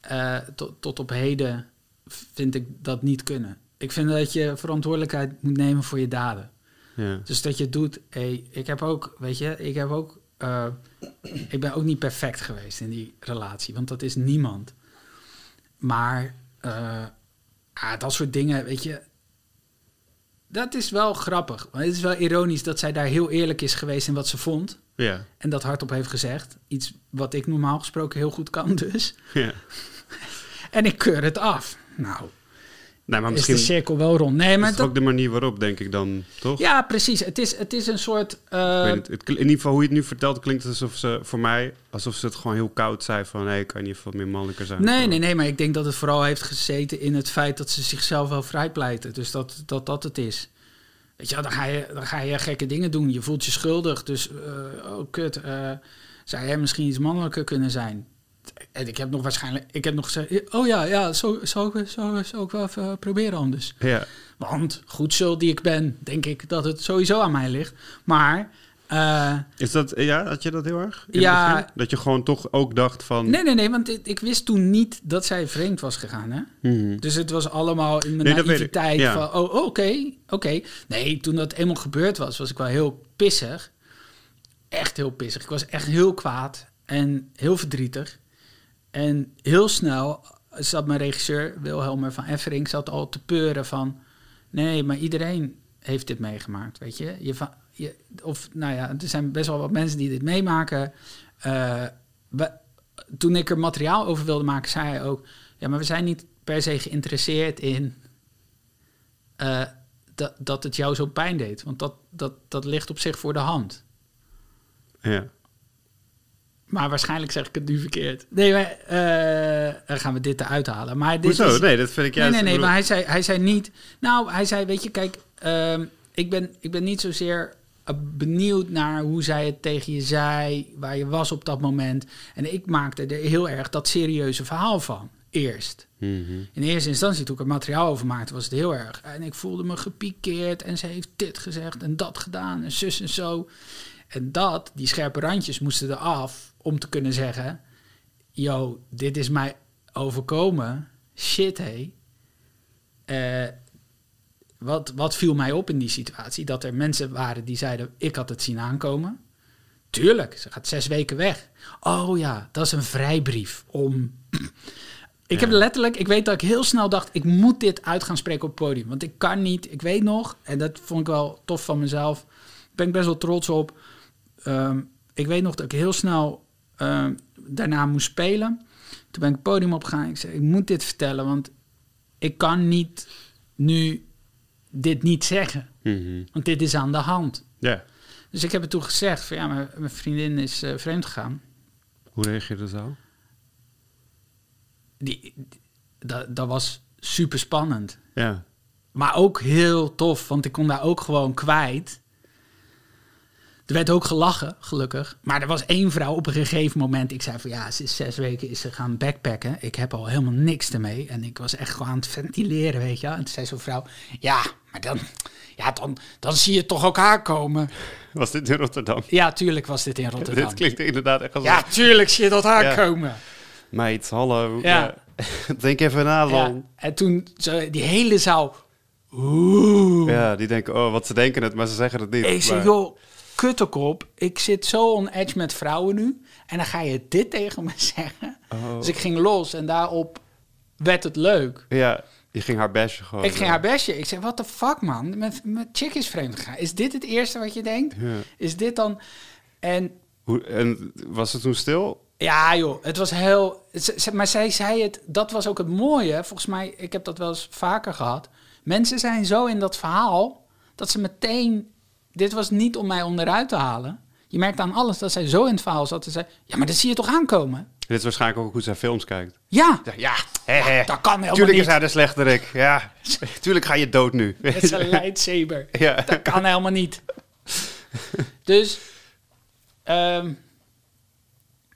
Speaker 2: eh, tot, tot op heden vind ik dat niet kunnen. Ik vind dat je verantwoordelijkheid moet nemen voor je daden.
Speaker 1: Ja.
Speaker 2: Dus dat je het doet, hey, ik heb ook, weet je, ik heb ook, eh, ik ben ook niet perfect geweest in die relatie, want dat is niemand. Maar eh, ah, dat soort dingen, weet je, dat is wel grappig. Maar het is wel ironisch dat zij daar heel eerlijk is geweest in wat ze vond.
Speaker 1: Ja.
Speaker 2: En dat hardop heeft gezegd. Iets wat ik normaal gesproken heel goed kan dus.
Speaker 1: ja.
Speaker 2: En ik keur het af. Nou,
Speaker 1: Nee, maar
Speaker 2: is de
Speaker 1: misschien...
Speaker 2: cirkel wel rond. Nee,
Speaker 1: is
Speaker 2: maar
Speaker 1: het
Speaker 2: dat...
Speaker 1: ook de manier waarop, denk ik dan, toch?
Speaker 2: Ja, precies. Het is, het is een soort... eh,
Speaker 1: Ik weet het, het kl- in ieder geval hoe je het nu vertelt, klinkt het alsof ze voor mij alsof ze het gewoon heel koud zei van hé, hey, kan je wat meer mannelijker zijn.
Speaker 2: nee, nee, nee. Maar ik denk dat het vooral heeft gezeten in het feit dat ze zichzelf wel vrijpleiten. Dus dat dat, dat het is. Weet je, wel, dan ga, je, dan ga je gekke dingen doen. Je voelt je schuldig. Dus, eh, oh kut, eh, zou jij misschien iets mannelijker kunnen zijn? En ik heb nog waarschijnlijk... Ik heb nog gezegd... Oh ja, ja, zo zou ik zo, zo ook wel even proberen anders.
Speaker 1: Ja,
Speaker 2: Want goed zo die ik ben, denk ik dat het sowieso aan mij ligt. Maar eh,
Speaker 1: is dat ja, had je dat heel erg? in het
Speaker 2: Ja.
Speaker 1: begin? dat je gewoon toch ook dacht van.
Speaker 2: nee, nee, nee, want ik, ik wist toen niet dat zij vreemd was gegaan. Hè?
Speaker 1: Mhm.
Speaker 2: Dus het was allemaal in mijn
Speaker 1: Nee, dat weet ik,
Speaker 2: naïviteit
Speaker 1: ja.
Speaker 2: van, oh, oké, oké. Nee, toen dat eenmaal gebeurd was, was ik wel heel pissig. Echt heel pissig. Ik was echt heel kwaad en heel verdrietig. En heel snel zat mijn regisseur, Wilhelmer van Effering, zat al te peuren van... Nee, maar iedereen heeft dit meegemaakt, weet je. je, va- je of, nou ja, er zijn best wel wat mensen die dit meemaken. Eh, we- toen ik er materiaal over wilde maken, zei hij ook... Ja, maar we zijn niet per se geïnteresseerd in eh, dat, dat het jou zo pijn deed. Want dat, dat, dat ligt op zich voor de hand.
Speaker 1: Ja.
Speaker 2: Maar waarschijnlijk zeg ik het nu verkeerd. Nee, maar, eh, dan gaan we dit eruit halen. Maar dit
Speaker 1: Hoezo?
Speaker 2: is-
Speaker 1: nee, dat vind ik
Speaker 2: nee,
Speaker 1: juist.
Speaker 2: nee,
Speaker 1: ik bedoel-
Speaker 2: nee, maar hij zei, hij zei niet... Nou, hij zei, weet je, kijk, ehm, ik, ben, ik ben niet zozeer eh, benieuwd naar hoe zij het tegen je zei, waar je was op dat moment. En ik maakte er heel erg dat serieuze verhaal van, eerst.
Speaker 1: Mhm.
Speaker 2: In eerste instantie, toen ik er materiaal over maakte, was het heel erg. En ik voelde me gepikeerd en ze heeft dit gezegd en dat gedaan en zus en zo. En dat, die scherpe randjes moesten eraf om te kunnen zeggen... Yo, dit is mij overkomen. Shit, hé. Eh, wat, wat viel mij op in die situatie? Dat er mensen waren die zeiden, ik had het zien aankomen. Tuurlijk, ze gaat zes weken weg. Oh ja, dat is een vrijbrief om... Ik heb
Speaker 1: Ja.
Speaker 2: letterlijk, ik weet dat ik heel snel dacht, ik moet dit uit gaan spreken op het podium. Want ik kan niet, ik weet nog, en dat vond ik wel tof van mezelf. Daar ben ik best wel trots op. Ehm, ik weet nog dat ik heel snel ehm, daarna moest spelen. Toen ben ik het podium opgegaan. Ik zei, ik moet dit vertellen, want ik kan niet nu dit niet zeggen.
Speaker 1: Mhm.
Speaker 2: Want dit is aan de hand.
Speaker 1: Ja.
Speaker 2: Dus ik heb het toen gezegd van ja, mijn, mijn vriendin is eh, vreemd gegaan.
Speaker 1: Hoe reageerde de zaal?
Speaker 2: Die, die- dat, dat was super spannend.
Speaker 1: Ja.
Speaker 2: Maar ook heel tof, want ik kon daar ook gewoon kwijt. Er werd ook gelachen, gelukkig. Maar er was één vrouw op een gegeven moment. Ik zei van ja, ze is zes weken is ze gaan backpacken. Ik heb al helemaal niks ermee. En ik was echt gewoon aan het ventileren, weet je. wel. En toen zei zo'n vrouw, ja, maar dan, ja, dan, dan zie je toch ook haar komen.
Speaker 1: Was dit in Rotterdam?
Speaker 2: Ja, tuurlijk was dit in Rotterdam.
Speaker 1: Dit klinkt inderdaad echt als
Speaker 2: Ja, tuurlijk zie je dat haar
Speaker 1: Ja.
Speaker 2: komen.
Speaker 1: een meid, hallo.
Speaker 2: Ja.
Speaker 1: ja. Denk even na
Speaker 2: Ja,
Speaker 1: dan.
Speaker 2: en toen zo, die hele zaal, oeh.
Speaker 1: Ja. die denken, oh, wat ze denken het, maar ze zeggen het niet.
Speaker 2: Ik zeg,
Speaker 1: Maar-
Speaker 2: joh, kuttekop. Ik zit zo on edge met vrouwen nu. En dan ga je dit tegen me zeggen.
Speaker 1: Oh.
Speaker 2: Dus ik ging los en daarop werd het leuk.
Speaker 1: Ja, Je ging haar bestje gewoon.
Speaker 2: ik ging haar bestje. Ik zei, what the fuck, man? Mijn, mijn chick is vreemd gegaan. Is dit het eerste wat je denkt?
Speaker 1: Ja.
Speaker 2: Is dit dan... En
Speaker 1: Hoe, en was het toen stil?
Speaker 2: ja, joh, het was heel... ze- ze- Maar zij zei het, dat was ook het mooie. Volgens mij, ik heb dat wel eens vaker gehad. Mensen zijn zo in dat verhaal, dat ze meteen... Dit was niet om mij onderuit te halen. Je merkt aan alles dat zij zo in het verhaal zat. Ze zei, ja, maar dat zie je toch aankomen?
Speaker 1: Dit is waarschijnlijk ook hoe zij films kijkt.
Speaker 2: Ja,
Speaker 1: Ja, hè, hè.
Speaker 2: dat kan helemaal
Speaker 1: Tuurlijk is
Speaker 2: niet.
Speaker 1: hij de slechterik. Ja, tuurlijk ga je dood nu.
Speaker 2: Het is een lightsaber.
Speaker 1: ja.
Speaker 2: Dat kan helemaal niet. Dus ehm,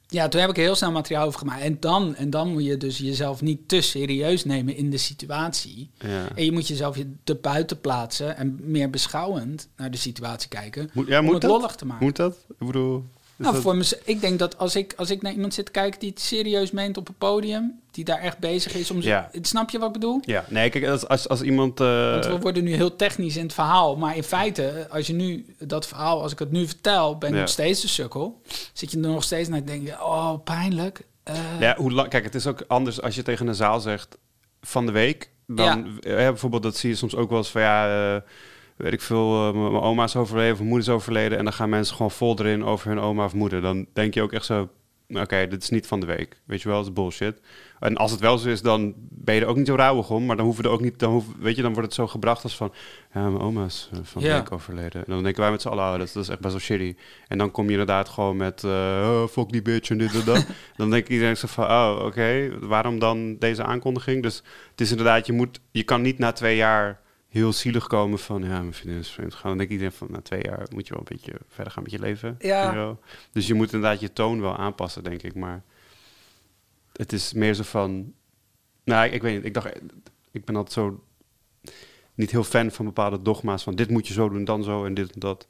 Speaker 2: ja, toen heb ik er heel snel materiaal over gemaakt. En dan, en dan moet je dus jezelf niet te serieus nemen in de situatie.
Speaker 1: Ja.
Speaker 2: En je moet jezelf je te buiten plaatsen en meer beschouwend naar de situatie kijken.
Speaker 1: Moet, ja,
Speaker 2: om
Speaker 1: moet
Speaker 2: het
Speaker 1: dat?
Speaker 2: lollig te maken.
Speaker 1: Moet dat? Ik bedoel... is
Speaker 2: nou,
Speaker 1: dat-
Speaker 2: voor mez- ik denk dat als ik, als ik naar iemand zit te kijken die het serieus meent op een podium, die daar echt bezig is om. z-
Speaker 1: Ja.
Speaker 2: Snap je wat ik bedoel?
Speaker 1: Ja, nee, kijk, als, als, als iemand... eh,
Speaker 2: Want we worden nu heel technisch in het verhaal. Maar in feite, als je nu dat verhaal, als ik het nu vertel, ben ik
Speaker 1: Ja.
Speaker 2: nog steeds de sukkel. Zit je er nog steeds naar te denken, oh, pijnlijk. Eh,
Speaker 1: Ja, hoe lang, kijk, het is ook anders als je tegen een zaal zegt van de week. Dan eh, bijvoorbeeld, dat zie je soms ook wel eens van ja, eh, weet ik veel, eh, m- mijn oma is overleden of mijn moeder is overleden. En dan gaan mensen gewoon vol erin over hun oma of moeder. Dan denk je ook echt zo, oké, dit is niet van de week. Weet je wel, dat is bullshit. En als het wel zo is, dan ben je er ook niet zo rauwig om. Maar dan hoeven we er ook niet, dan hoef, weet je, dan wordt het zo gebracht als van, ja, mijn oma is eh, van de
Speaker 2: Ja.
Speaker 1: week overleden. En dan denken wij met z'n allen, oh, dat, dat is echt best wel shitty. En dan kom je inderdaad gewoon met, eh, oh, fuck die bitch en dit en dat. dan denkt iedereen zo van, oh, oké, waarom dan deze aankondiging? Dus het is inderdaad, je, moet, je kan niet na twee jaar heel zielig komen van, ja, mijn vriendin is vreemd gegaan. Dan denkt iedereen van, na twee jaar moet je wel een beetje verder gaan met je leven.
Speaker 2: Ja.
Speaker 1: weet je wel. Dus je moet inderdaad je toon wel aanpassen, denk ik. Maar het is meer zo van, nou, ik, ik weet niet, ik dacht, ik ben altijd zo niet heel fan van bepaalde dogma's van dit moet je zo doen, dan zo en dit en dat.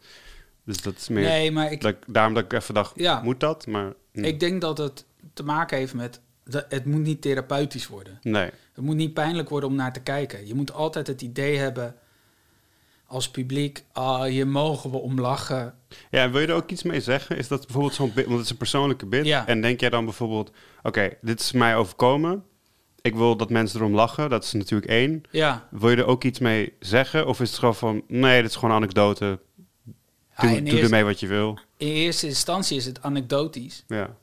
Speaker 1: Dus dat is meer,
Speaker 2: nee, maar ik,
Speaker 1: dat ik- daarom dat ik even dacht,
Speaker 2: Ja.
Speaker 1: moet dat? Maar mm,
Speaker 2: ik denk dat het te maken heeft met, dat het moet niet therapeutisch worden.
Speaker 1: nee,
Speaker 2: Het moet niet pijnlijk worden om naar te kijken. Je moet altijd het idee hebben als publiek, ah, hier mogen we om lachen.
Speaker 1: Ja, en wil je er ook iets mee zeggen? Is dat bijvoorbeeld zo'n bit, want het is een persoonlijke bit.
Speaker 2: Ja.
Speaker 1: En denk jij dan bijvoorbeeld, oké, dit is mij overkomen. Ik wil dat mensen erom lachen, dat is natuurlijk één.
Speaker 2: Ja,
Speaker 1: Wil je er ook iets mee zeggen? Of is het gewoon van, nee, dit is gewoon anekdote. Doe,
Speaker 2: Ah, in,
Speaker 1: doe
Speaker 2: eerste-
Speaker 1: ermee wat je wil.
Speaker 2: in eerste instantie is het anekdotisch.
Speaker 1: Ja.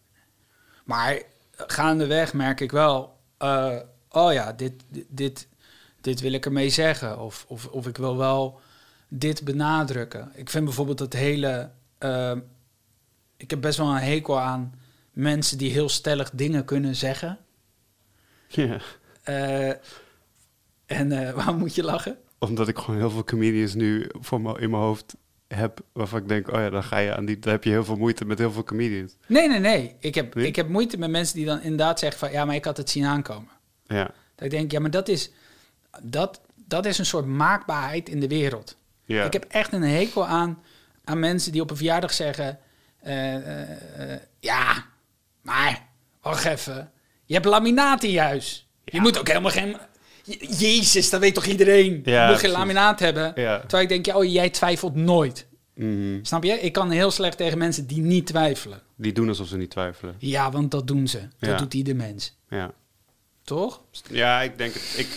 Speaker 2: Maar eh, gaandeweg merk ik wel, eh, oh ja, dit, dit- dit, dit wil ik ermee zeggen. Of, of, of ik wil wel dit benadrukken. Ik vind bijvoorbeeld dat hele. eh, ik heb best wel een hekel aan mensen die heel stellig dingen kunnen zeggen.
Speaker 1: ja.
Speaker 2: Eh, en eh waarom moet je lachen?
Speaker 1: Omdat ik gewoon heel veel comedians nu voor me, in mijn hoofd heb. Waarvan ik denk, oh ja, dan ga je aan die. Dan heb je heel veel moeite met heel veel comedians.
Speaker 2: Nee, nee, nee. Ik heb,
Speaker 1: Nee?
Speaker 2: ik heb moeite met mensen die dan inderdaad zeggen van ja, maar ik had het zien aankomen.
Speaker 1: Ja.
Speaker 2: Dat ik denk, ja, maar dat is, dat, dat is een soort maakbaarheid in de wereld.
Speaker 1: ja.
Speaker 2: Ik heb echt een hekel aan, aan mensen die op een verjaardag zeggen: eh, eh, eh, Ja, maar wacht even. Je hebt laminaat in je huis. Je
Speaker 1: Ja.
Speaker 2: moet ook helemaal geen. Je- Jezus, dat weet toch iedereen?
Speaker 1: Ja,
Speaker 2: je moet geen
Speaker 1: precies.
Speaker 2: laminaat hebben.
Speaker 1: Ja.
Speaker 2: Terwijl ik denk: ja, Oh, jij twijfelt nooit.
Speaker 1: Mhm.
Speaker 2: Snap je? Ik kan heel slecht tegen mensen die niet twijfelen.
Speaker 1: Die doen alsof ze niet twijfelen.
Speaker 2: Ja, want dat doen ze. Dat
Speaker 1: Ja.
Speaker 2: doet ieder mens.
Speaker 1: Ja.
Speaker 2: Toch?
Speaker 1: Ja, ik denk het. Ik,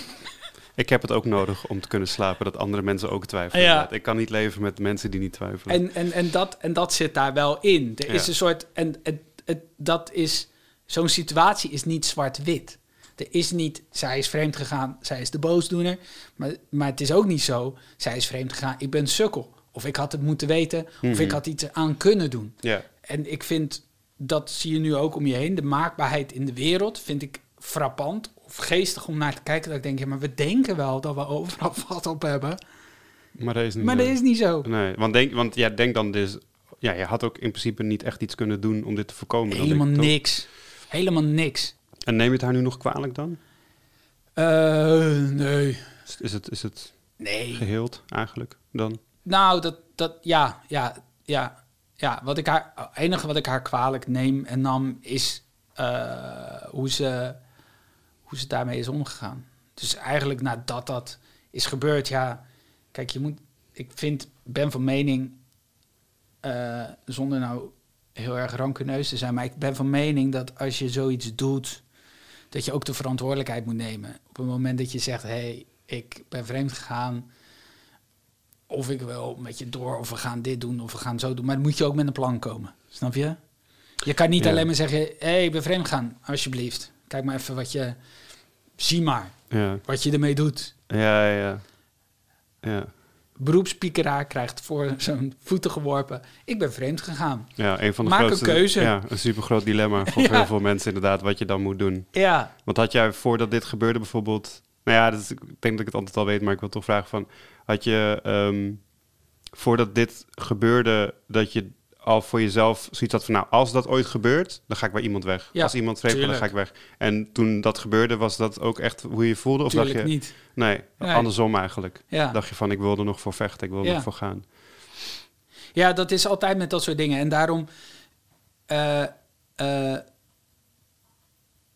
Speaker 1: ik heb het ook nodig om te kunnen slapen dat andere mensen ook twijfelen.
Speaker 2: Ja.
Speaker 1: inderdaad. Ik kan niet leven met mensen die niet twijfelen.
Speaker 2: En, en, en, dat, en dat zit daar wel in. Er is
Speaker 1: Ja.
Speaker 2: een soort. En, en, het- dat is. Zo'n situatie is niet zwart-wit. Er is niet. Zij is vreemd gegaan, zij is de boosdoener. Maar, maar het is ook niet zo. Zij is vreemd gegaan, ik ben een sukkel. Of ik had het moeten weten. Of ik had iets aan kunnen doen.
Speaker 1: ja.
Speaker 2: En ik vind. Dat zie je nu ook om je heen. De maakbaarheid in de wereld vind ik frappant. Of geestig om naar te kijken. Dat ik denk, ja, maar we denken wel dat we overal vat op hebben.
Speaker 1: Maar dat is niet
Speaker 2: Maar
Speaker 1: zo.
Speaker 2: dat is niet zo.
Speaker 1: Nee, want, denk, want ja, denk dan dus... Ja, je had ook in principe niet echt iets kunnen doen om dit te voorkomen. dan denk
Speaker 2: Helemaal
Speaker 1: ik, toch?
Speaker 2: niks. Helemaal niks.
Speaker 1: En neem je het haar nu nog kwalijk dan?
Speaker 2: Eh, nee.
Speaker 1: Is- Is het, is het
Speaker 2: Nee.
Speaker 1: geheeld eigenlijk dan?
Speaker 2: Nou, dat, dat, ja, ja, ja. Ja, wat ik haar, het enige wat ik haar kwalijk neem en nam is eh, hoe, ze, hoe ze daarmee is omgegaan. Dus eigenlijk nadat dat is gebeurd, ja, kijk, je moet, ik vind, ben van mening, eh, zonder nou heel erg rancuneus te zijn, maar ik ben van mening dat als je zoiets doet, dat je ook de verantwoordelijkheid moet nemen. Op het moment dat je zegt, hé, hey, ik ben vreemd gegaan. Of ik wil met je door, of we gaan dit doen, of we gaan zo doen. Maar dan moet je ook met een plan komen. Snap je? Je kan niet
Speaker 1: Ja.
Speaker 2: alleen maar zeggen, hé, hey, ik ben vreemd gegaan. Alsjeblieft. Kijk maar even wat je... Zie maar
Speaker 1: Ja,
Speaker 2: wat je ermee doet.
Speaker 1: ja, ja. Ja,
Speaker 2: Beroepspiekeraar krijgt voor zijn voeten geworpen. Ik ben vreemd gegaan.
Speaker 1: ja een van de
Speaker 2: Maak een
Speaker 1: grootste...
Speaker 2: keuze.
Speaker 1: Ja, een super groot dilemma voor
Speaker 2: Ja.
Speaker 1: heel veel mensen inderdaad, wat je dan moet doen.
Speaker 2: Ja,
Speaker 1: Want had jij voordat dit gebeurde bijvoorbeeld... Nou ja, dat is- ik denk dat ik het antwoord al weet, maar ik wil toch vragen van... Had je ehm, voordat dit gebeurde, dat je al voor jezelf zoiets had van... Nou, als dat ooit gebeurt, dan ga ik bij iemand weg.
Speaker 2: Ja,
Speaker 1: als iemand vreemd gaat, dan ga ik
Speaker 2: tuurlijk.
Speaker 1: weg. En toen dat gebeurde, was dat ook echt hoe je je voelde? Of
Speaker 2: natuurlijk
Speaker 1: dacht je...
Speaker 2: niet.
Speaker 1: Nee,
Speaker 2: Nee.
Speaker 1: andersom eigenlijk.
Speaker 2: Ja.
Speaker 1: Dacht je van, ik wil er nog voor vechten, ik wil er
Speaker 2: Ja.
Speaker 1: nog voor gaan.
Speaker 2: ja, dat is altijd met dat soort dingen. En daarom... eh, eh,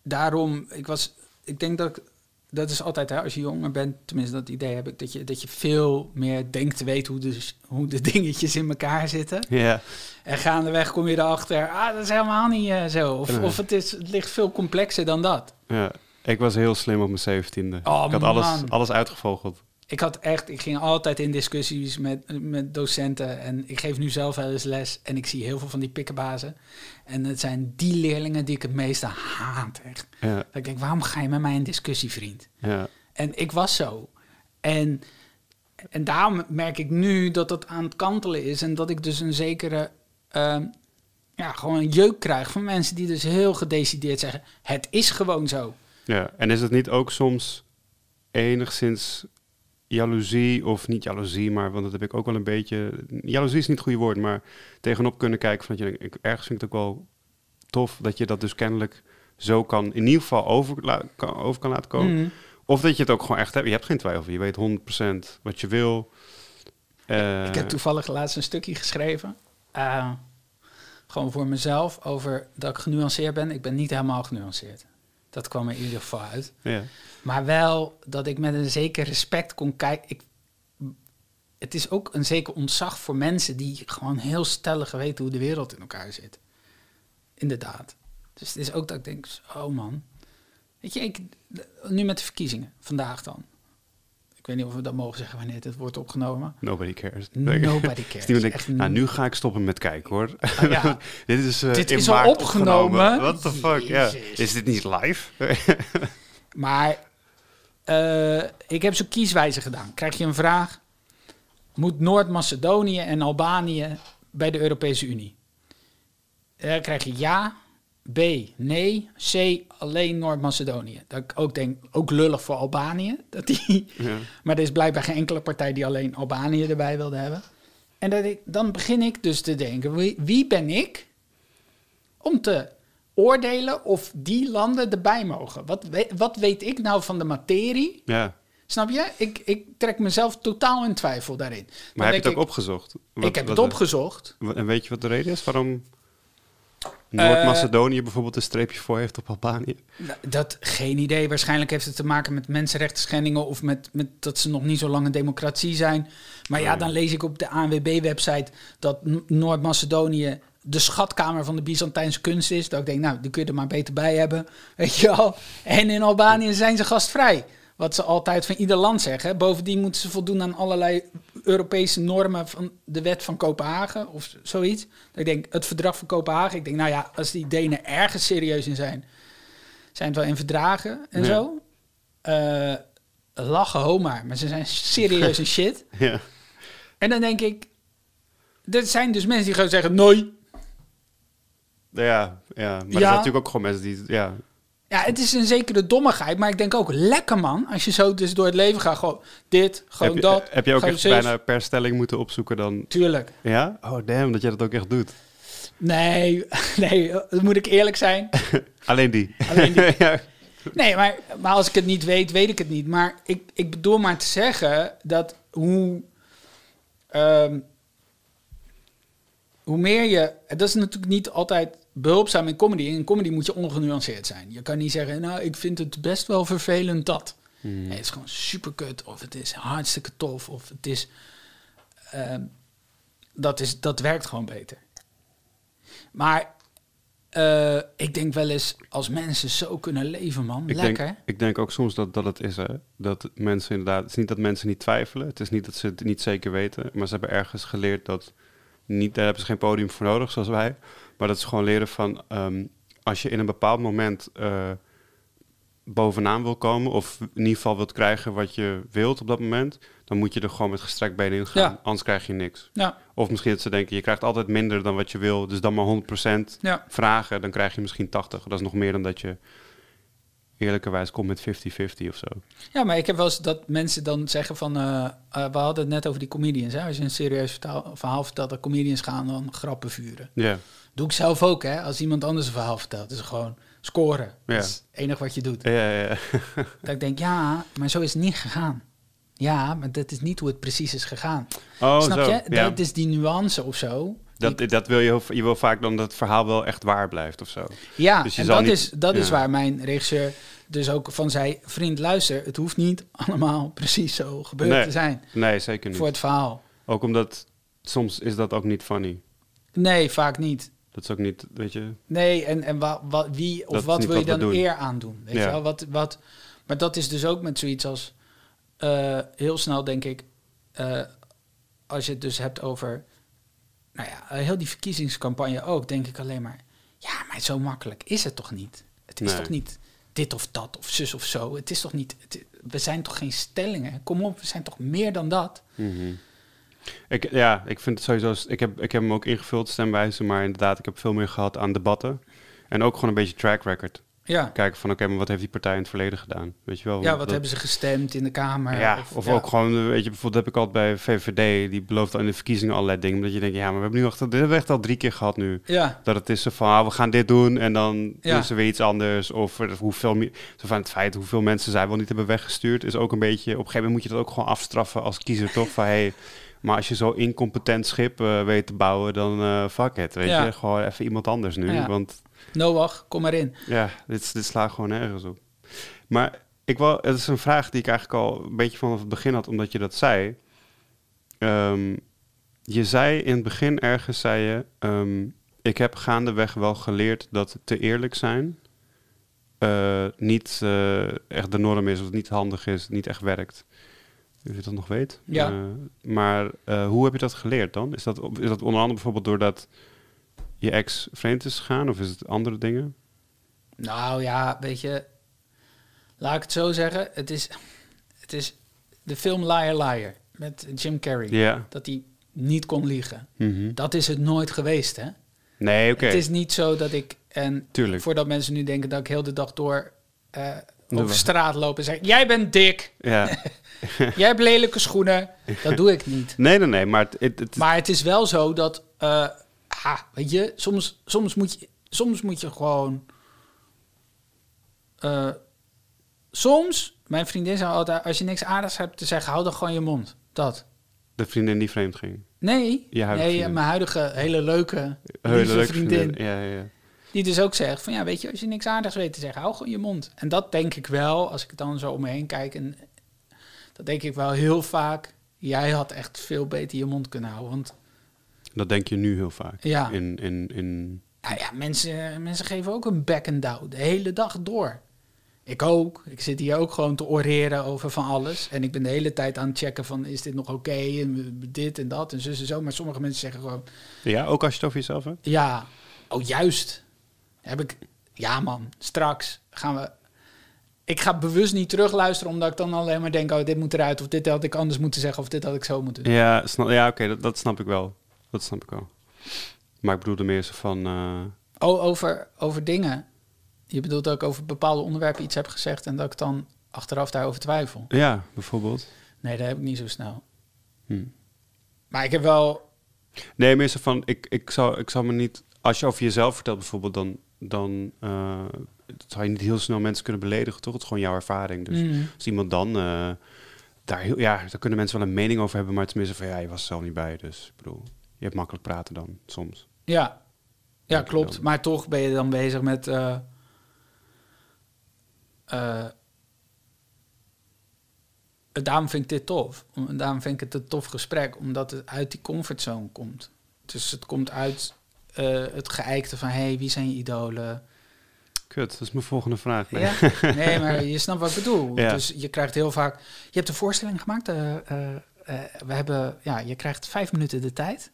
Speaker 2: daarom, ik was... Ik denk dat... ik- Dat is altijd, hè, als je jonger bent, tenminste dat idee heb ik, dat je, dat je veel meer denkt te weten hoe de, hoe de dingetjes in elkaar zitten.
Speaker 1: Ja,
Speaker 2: En gaandeweg kom je erachter, ah, dat is helemaal niet eh, zo. Of,
Speaker 1: Nee.
Speaker 2: of het, is, het ligt veel complexer dan dat.
Speaker 1: ja. ik was heel slim op mijn zeventiende.
Speaker 2: Oh,
Speaker 1: ik had alles,
Speaker 2: man.
Speaker 1: alles uitgevogeld.
Speaker 2: Ik had echt, ik ging altijd in discussies met, met docenten. En ik geef nu zelf wel eens les. En ik zie heel veel van die pikkenbazen. En het zijn die leerlingen die ik het meeste haat. Echt.
Speaker 1: Ja,
Speaker 2: Dat ik denk, waarom ga je met mij in discussie, vriend?
Speaker 1: ja,
Speaker 2: En ik was zo. En, en daarom merk ik nu dat dat aan het kantelen is. En dat ik dus een zekere. ehm, ja, gewoon een jeuk krijg van mensen die dus heel gedecideerd zeggen: Het is gewoon zo.
Speaker 1: ja. En is het niet ook soms enigszins jaloezie of niet jaloezie, maar want dat heb ik ook wel een beetje... Jaloezie is niet het goede woord, maar tegenop kunnen kijken van dat je denkt, ik, ergens vind ik het ook wel tof dat je dat dus kennelijk zo kan, in ieder geval over, la- kan, over kan laten komen.
Speaker 2: Mm.
Speaker 1: Of dat je het ook gewoon echt hebt. Je hebt geen twijfel. Je weet 100% wat je wil. Eh,
Speaker 2: Ik heb toevallig laatst een stukje geschreven. eh, gewoon voor mezelf over dat ik genuanceerd ben. Ik ben niet helemaal genuanceerd. Dat kwam er in ieder geval uit.
Speaker 1: ja.
Speaker 2: Maar wel dat ik met een zeker respect kon kijken. Ik, het is ook een zeker ontzag voor mensen die gewoon heel stellig weten hoe de wereld in elkaar zit. Inderdaad. Dus het is ook dat ik denk, oh man. Weet je, ik, nu met de verkiezingen, vandaag dan. Ik weet niet of we dat mogen zeggen wanneer dit wordt opgenomen.
Speaker 1: Nobody cares.
Speaker 2: Nobody
Speaker 1: Is
Speaker 2: cares.
Speaker 1: niemand die denkt,
Speaker 2: Echt
Speaker 1: nou, nu ga ik stoppen met kijken hoor.
Speaker 2: Ah, ja.
Speaker 1: dit is, eh,
Speaker 2: Dit
Speaker 1: in
Speaker 2: is al
Speaker 1: maart
Speaker 2: opgenomen.
Speaker 1: What the fuck? Ja.
Speaker 2: Jezus.
Speaker 1: Is dit niet live?
Speaker 2: Maar eh, ik heb zo'n kieswijze gedaan. Krijg je een vraag? Moet Noord-Macedonië en Albanië bij de Europese Unie? Dan krijg je ja, B, nee, C, alleen Noord-Macedonië. Dat ik ook denk, ook lullig voor Albanië. Dat die,
Speaker 1: ja.
Speaker 2: maar er is blijkbaar geen enkele partij die alleen Albanië erbij wilde hebben. En dat ik, dan begin ik dus te denken, wie, wie ben ik om te oordelen of die landen erbij mogen? Wat, we- wat weet ik nou van de materie?
Speaker 1: ja.
Speaker 2: Snap je? Ik, ik trek mezelf totaal in twijfel daarin. Dan
Speaker 1: Maar heb je het ook
Speaker 2: denk ik,
Speaker 1: opgezocht? Wat-
Speaker 2: ik heb
Speaker 1: wat-
Speaker 2: het opgezocht.
Speaker 1: wat- En weet je wat de reden is? Waarom
Speaker 2: Eh.
Speaker 1: Noord-Macedonië bijvoorbeeld een streepje voor heeft op Albanië?
Speaker 2: Nou, Dat, geen idee. Waarschijnlijk heeft het te maken met mensenrechten schendingen... of met, met dat ze nog niet zo lang een democratie zijn. Maar ja,
Speaker 1: Nee.
Speaker 2: dan lees ik op de ANWB-website... dat N- Noord-Macedonië de schatkamer van de Byzantijnse kunst is. Dat ik denk, nou, die kun je er maar beter bij hebben. Weet je wel? En in Albanië zijn ze gastvrij. Wat ze altijd van ieder land zeggen. Bovendien moeten ze voldoen aan allerlei Europese normen... van de wet van Kopenhagen of z- zoiets. Dat ik denk, het verdrag van Kopenhagen... ik denk, nou ja, als die Denen ergens serieus in zijn zijn het wel in verdragen en
Speaker 1: Ja.
Speaker 2: zo. Eh, lachen, ho maar. Maar ze zijn serieus en shit.
Speaker 1: Ja.
Speaker 2: En dan denk ik... Er zijn dus mensen die gewoon zeggen... Nee.
Speaker 1: Nou Ja, ja. Maar er
Speaker 2: Ja.
Speaker 1: zijn natuurlijk ook gewoon mensen die... Ja,
Speaker 2: Ja, het is een zekere dommigheid. Maar ik denk ook... Lekker man. Als je zo dus door het leven gaat. Gewoon dit, gewoon
Speaker 1: heb je,
Speaker 2: dat.
Speaker 1: Heb je ook
Speaker 2: gewoon
Speaker 1: echt
Speaker 2: zus.
Speaker 1: bijna per stelling moeten opzoeken dan?
Speaker 2: Tuurlijk.
Speaker 1: Ja? Oh damn, dat jij dat ook echt doet.
Speaker 2: Nee, nee. Dan moet ik eerlijk zijn.
Speaker 1: Alleen die.
Speaker 2: Alleen
Speaker 1: ja.
Speaker 2: Nee, maar, maar als ik het niet weet, weet ik het niet. Maar ik, ik bedoel maar te zeggen dat hoe. ehm, hoe meer je. en Dat is natuurlijk niet altijd behulpzaam in comedy. In comedy moet je ongenuanceerd zijn. Je kan niet zeggen, nou, ik vind het best wel vervelend dat.
Speaker 1: Hmm.
Speaker 2: Nee, het is gewoon super kut. Of het is hartstikke tof. Of het is. ehm, dat, is dat werkt gewoon beter. Maar eh, eh, ik denk wel eens, als mensen zo kunnen leven, man.
Speaker 1: Ik
Speaker 2: lekker.
Speaker 1: denk, ik denk ook soms dat, dat het is, hè. Dat mensen inderdaad... Het is niet dat mensen niet twijfelen. Het is niet dat ze het niet zeker weten. Maar ze hebben ergens geleerd dat... Niet, daar hebben ze geen podium voor nodig, zoals wij. Maar dat ze gewoon leren van... ehm, als je in een bepaald moment eh, bovenaan wil komen... of in ieder geval wilt krijgen wat je wilt op dat moment... dan moet je er gewoon met gestrekt been in gaan.
Speaker 2: Ja.
Speaker 1: Anders krijg je niks.
Speaker 2: Ja,
Speaker 1: Of misschien dat ze denken... je krijgt altijd minder dan wat je wil. Dus dan maar 100%
Speaker 2: ja.
Speaker 1: vragen, dan krijg je misschien 80. Dat is nog meer dan dat je eerlijkerwijs komt met 50-50 of zo.
Speaker 2: ja, maar ik heb wel eens dat mensen dan zeggen van... eh, eh, we hadden het net over die comedians. Hè? Als je een serieus vertaal- verhaal vertelt, dat comedians gaan dan grappen vuren.
Speaker 1: Ja,
Speaker 2: Doe ik zelf ook, hè. Als iemand anders een verhaal vertelt, is het gewoon scoren.
Speaker 1: Ja.
Speaker 2: Dat is het enige wat je doet.
Speaker 1: ja, ja.
Speaker 2: Dat ik denk, ja, maar zo is het niet gegaan. Ja, maar dat is niet hoe het precies is gegaan.
Speaker 1: Oh,
Speaker 2: Snap
Speaker 1: zo.
Speaker 2: je?
Speaker 1: Ja.
Speaker 2: Dat is die nuance of zo.
Speaker 1: Dat, dat wil je, heel- je wil vaak dan dat het verhaal wel echt waar blijft of zo.
Speaker 2: Ja,
Speaker 1: Dus je
Speaker 2: en
Speaker 1: zal
Speaker 2: dat,
Speaker 1: niet-
Speaker 2: is, dat is
Speaker 1: ja.
Speaker 2: waar mijn regisseur dus ook van zei... vriend, luister, het hoeft niet allemaal precies zo gebeurd
Speaker 1: Nee,
Speaker 2: te zijn
Speaker 1: Nee, zeker niet.
Speaker 2: voor het verhaal.
Speaker 1: Ook omdat soms is dat ook niet funny.
Speaker 2: Nee, vaak niet.
Speaker 1: Dat is ook niet, weet je.
Speaker 2: Nee, en, en wa- wa- wie of
Speaker 1: Dat is
Speaker 2: wat
Speaker 1: niet
Speaker 2: wil
Speaker 1: wat
Speaker 2: je
Speaker 1: we
Speaker 2: dan
Speaker 1: doen.
Speaker 2: eer aandoen? Weet
Speaker 1: Ja.
Speaker 2: je wel? Wat, wat, maar dat is dus ook met zoiets als... eh, heel snel denk ik, eh, als je het dus hebt over... Nou ja, eh, heel die verkiezingscampagne ook, denk ik alleen maar... Ja, maar zo makkelijk is het toch niet? Het is
Speaker 1: Nee.
Speaker 2: toch niet dit of dat of zus of zo? Het is toch niet... het- we zijn toch geen stellingen? Kom op, we zijn toch meer dan dat?
Speaker 1: Mhm. Ik, ja, ik vind het sowieso. Ik heb, ik heb hem ook ingevuld, stemwijze. Maar inderdaad, ik heb veel meer gehad aan debatten. En ook gewoon een beetje track record.
Speaker 2: Ja,
Speaker 1: Kijken van, oké, maar wat heeft die partij in het verleden gedaan? Weet je wel? hoe-
Speaker 2: ja wat
Speaker 1: Oh, dat-
Speaker 2: hebben ze gestemd in de Kamer?
Speaker 1: ja, of,
Speaker 2: ja.
Speaker 1: ook gewoon, eh, weet je, bijvoorbeeld heb ik altijd bij VVD, die belooft aan de verkiezingen allerlei dingen. Omdat je denkt, ja, maar we hebben nu echt, al- dit hebben we echt al drie keer gehad nu.
Speaker 2: Ja,
Speaker 1: Dat het is zo van, ah, we gaan dit doen en dan
Speaker 2: Ja.
Speaker 1: doen ze weer iets anders. Of er- hoeveel, mi- zo van het feit hoeveel mensen zij wel niet hebben weggestuurd, is ook een beetje, op een gegeven moment moet je dat ook gewoon afstraffen als kiezer, toch? Van, hey, maar als je zo incompetent schip eh, weet te bouwen, dan eh, fuck it, weet
Speaker 2: Ja.
Speaker 1: je. Gewoon even iemand anders nu,
Speaker 2: Ja.
Speaker 1: want
Speaker 2: Noach, kom maar in.
Speaker 1: ja, dit, dit slaat gewoon nergens op. Maar ik wel, het is een vraag die ik eigenlijk al een beetje vanaf het begin had, omdat je dat zei. Ehm, je zei in het begin ergens, zei je, ehm, ik heb gaandeweg wel geleerd dat te eerlijk zijn eh, niet eh, echt de norm is, of niet handig is, niet echt werkt. Of je dat nog weet.
Speaker 2: Ja.
Speaker 1: Eh, maar eh, hoe heb je dat geleerd dan? Is dat, op- is dat onder andere bijvoorbeeld doordat je ex vreemd is gegaan, of is het andere dingen?
Speaker 2: Nou ja, weet je, laat ik het zo zeggen. Het is, het is de film Liar Liar met Jim Carrey.
Speaker 1: Ja.
Speaker 2: Dat hij niet kon liegen.
Speaker 1: Mhm.
Speaker 2: Dat is het nooit geweest, hè?
Speaker 1: Nee, oké.
Speaker 2: Het is niet zo dat ik, en
Speaker 1: Tuurlijk.
Speaker 2: voordat mensen nu denken dat ik heel de dag door eh,
Speaker 1: Doe
Speaker 2: over
Speaker 1: we.
Speaker 2: straat loop en zeg... Jij bent dik,
Speaker 1: Ja.
Speaker 2: jij hebt lelijke schoenen. Dat doe ik niet.
Speaker 1: Nee, nee, nee, maar het, het, het-
Speaker 2: Maar het is wel zo dat, eh, ah, weet je, soms, soms, moet je, soms moet je gewoon. eh, soms, mijn vriendin zei altijd: als je niks aardigs hebt te zeggen, hou dan gewoon je mond. Dat.
Speaker 1: de vriendin die vreemd ging.
Speaker 2: Nee,
Speaker 1: Je huidige
Speaker 2: nee
Speaker 1: vriendin.
Speaker 2: mijn huidige hele leuke, lieve
Speaker 1: leuke
Speaker 2: vriendin,
Speaker 1: Ja, ja, ja.
Speaker 2: Die dus ook zegt: van ja, weet je, als je niks aardigs weet te zeggen, hou gewoon je mond. En dat denk ik wel, als ik dan zo om me heen kijk. En dat denk ik wel heel vaak. Jij had echt veel beter je mond kunnen houden. Want
Speaker 1: Dat denk je nu heel vaak.
Speaker 2: Ja.
Speaker 1: In, in, in...
Speaker 2: Nou ja, mensen, mensen geven ook een back and down de hele dag door. Ik ook. Ik zit hier ook gewoon te oreren over van alles. En ik ben de hele tijd aan het checken van is dit nog oké en dit en dat en zus en zo. Maar sommige mensen zeggen gewoon
Speaker 1: Ja, ook als je het over jezelf hebt?
Speaker 2: ja, oh juist. Heb ik, ja man, straks gaan we... Ik ga bewust niet terugluisteren omdat ik dan alleen maar denk oh dit moet eruit of dit had ik anders moeten zeggen of dit had ik zo moeten doen.
Speaker 1: Ja, snap, ja oké, dat, dat snap ik wel. Dat snap ik wel. Maar ik bedoelde meer zo van... eh,
Speaker 2: Oh, over, over dingen. Je bedoelt dat ik over bepaalde onderwerpen iets heb gezegd en dat ik dan achteraf daarover twijfel.
Speaker 1: ja, bijvoorbeeld.
Speaker 2: Nee, dat heb ik niet zo snel.
Speaker 1: Hm.
Speaker 2: Maar ik heb wel.
Speaker 1: Nee, meer zo van... Ik, ik, zou, ik zou me niet... Als je over jezelf vertelt bijvoorbeeld, dan... dan eh, zou je niet heel snel mensen kunnen beledigen, toch? Het is gewoon jouw ervaring. Dus
Speaker 2: Mm.
Speaker 1: Als iemand dan eh, daar heel, ja, daar kunnen mensen wel een mening over hebben, maar het is meer zo van ja, je was er zelf niet bij, dus ik bedoel, je hebt makkelijk praten dan soms.
Speaker 2: Ja. ja,
Speaker 1: Dank je
Speaker 2: klopt.
Speaker 1: wel.
Speaker 2: Maar toch ben je dan bezig met. eh, eh, daarom vind ik dit tof. Om- Daarom vind ik het een tof gesprek, omdat het uit die comfortzone komt. Dus het komt uit eh, het geëikte van... hé, hey, wie zijn je idolen?
Speaker 1: Kut, dat is mijn volgende vraag. Nee.
Speaker 2: Ja? Nee, maar je snapt wat ik bedoel.
Speaker 1: Ja.
Speaker 2: Dus je krijgt heel vaak... Je hebt een voorstelling gemaakt. eh, eh, eh, we hebben... Ja, je krijgt vijf minuten de tijd.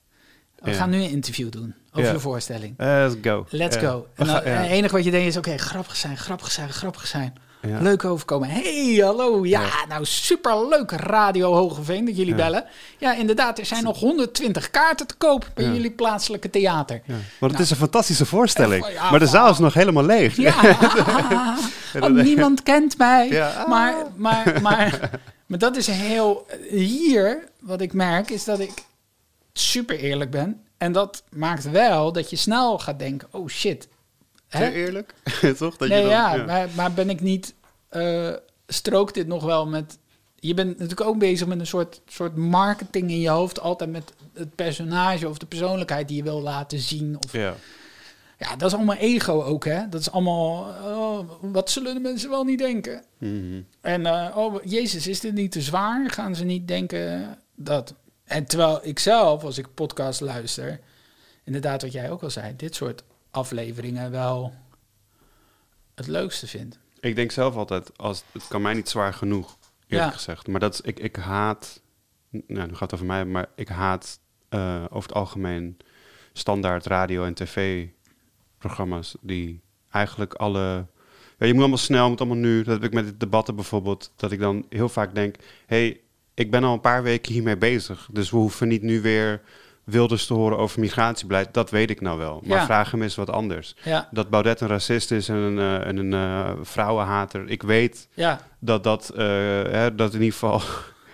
Speaker 2: We
Speaker 1: Ja.
Speaker 2: gaan nu een interview doen over
Speaker 1: Ja.
Speaker 2: je voorstelling.
Speaker 1: Eh, let's go.
Speaker 2: Let's
Speaker 1: Ja.
Speaker 2: go. Nou, eh,
Speaker 1: We
Speaker 2: En dan-
Speaker 1: gaan- ja.
Speaker 2: en het enige wat je denkt is... Oké, grappig zijn, grappig zijn, grappig zijn.
Speaker 1: Ja.
Speaker 2: eh, Leuk overkomen. hey, hallo. Ja,
Speaker 1: Ja.
Speaker 2: nou superleuk Radio Hogeveen dat jullie
Speaker 1: Ja.
Speaker 2: bellen. Ja, inderdaad. Er zijn nog 120 kaarten te koop bij
Speaker 1: Ja.
Speaker 2: jullie plaatselijke theater.
Speaker 1: Ja. Maar het
Speaker 2: Nou.
Speaker 1: is een fantastische voorstelling.
Speaker 2: Eh, ja,
Speaker 1: maar de
Speaker 2: van-
Speaker 1: zaal is nog helemaal leeg.
Speaker 2: Ja,
Speaker 1: dat-
Speaker 2: oh, niemand kent mij.
Speaker 1: Ja.
Speaker 2: Maar, maar, maar, maar dat is heel... Hier, wat ik merk, is dat ik super eerlijk ben. En dat maakt wel dat je snel gaat denken... Oh shit.
Speaker 1: Heel
Speaker 2: Hè?
Speaker 1: eerlijk? Toch? Dat
Speaker 2: Nee,
Speaker 1: je dan,
Speaker 2: ja, Maar, maar ben ik niet... eh, strookt dit nog wel met... Je bent natuurlijk ook bezig met een soort, soort marketing in je hoofd. Altijd met het personage of de persoonlijkheid die je wil laten zien. Of
Speaker 1: Ja.
Speaker 2: ja, dat is allemaal ego ook, hè? Dat is allemaal, oh, wat zullen de mensen wel niet denken?
Speaker 1: Mhm.
Speaker 2: En, eh, oh, Jezus, is dit niet te zwaar? Gaan ze niet denken dat? En terwijl ik zelf, als ik podcast luister, inderdaad wat jij ook al zei, dit soort afleveringen wel het leukste vind.
Speaker 1: Ik denk zelf altijd, als, het kan mij niet zwaar genoeg, eerlijk
Speaker 2: Ja.
Speaker 1: gezegd. Maar dat is, ik, ik haat, nou, nu gaat het over mij, maar ik haat eh, over het algemeen standaard radio- en tv-programma's die eigenlijk alle... Ja, je moet allemaal snel, moet allemaal nu. Dat heb ik met de debatten bijvoorbeeld, dat ik dan heel vaak denk... hey, ik ben al een paar weken hiermee bezig, dus we hoeven niet nu weer... Wilders te horen over migratiebeleid, dat weet ik nou wel. Maar
Speaker 2: Ja.
Speaker 1: vraag hem eens wat anders
Speaker 2: Ja,
Speaker 1: dat Baudet een racist is en een, eh, en een eh, vrouwenhater. Ik weet
Speaker 2: ja.
Speaker 1: dat dat, eh, hè, dat in ieder geval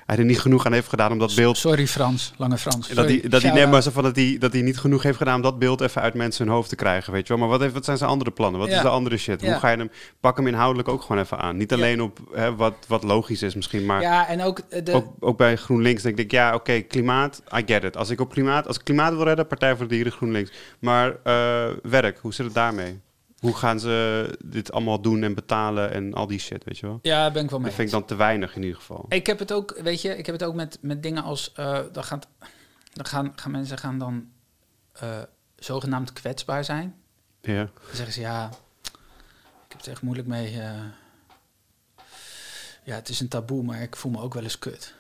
Speaker 1: hij er niet genoeg aan heeft gedaan om dat beeld.
Speaker 2: Sorry Frans, lange Frans.
Speaker 1: Dat
Speaker 2: Sorry.
Speaker 1: hij, dat hij,
Speaker 2: Shout-out.
Speaker 1: nee, maar zo van dat hij, dat hij niet genoeg heeft gedaan om dat beeld even uit mensen hun hoofd te krijgen. Weet je wel? Maar wat, heeft, wat zijn zijn andere plannen? Wat
Speaker 2: Ja.
Speaker 1: is de andere shit?
Speaker 2: Ja.
Speaker 1: Hoe ga je hem. Pak hem inhoudelijk ook gewoon even aan. Niet
Speaker 2: Ja.
Speaker 1: alleen op hè, wat, wat logisch is misschien, maar.
Speaker 2: Ja, en ook eh, de...
Speaker 1: Ook, ook bij GroenLinks denk ik, ja, oké, klimaat, I get it. Als ik op klimaat, als ik klimaat wil redden, Partij voor de Dieren, GroenLinks. Maar eh, werk, hoe zit het daarmee? Hoe gaan ze dit allemaal doen en betalen en al die shit, weet je wel?
Speaker 2: Ja, ben ik wel mee.
Speaker 1: Dat vind ik dan te weinig in ieder geval.
Speaker 2: Ik heb het ook, weet je, ik heb het ook met, met dingen als. eh, dan gaat, dan gaan, gaan mensen gaan dan eh, zogenaamd kwetsbaar zijn.
Speaker 1: Ja.
Speaker 2: Dan zeggen ze ja, ik heb het echt moeilijk mee. eh. ja, het is een taboe, maar ik voel me ook wel eens kut.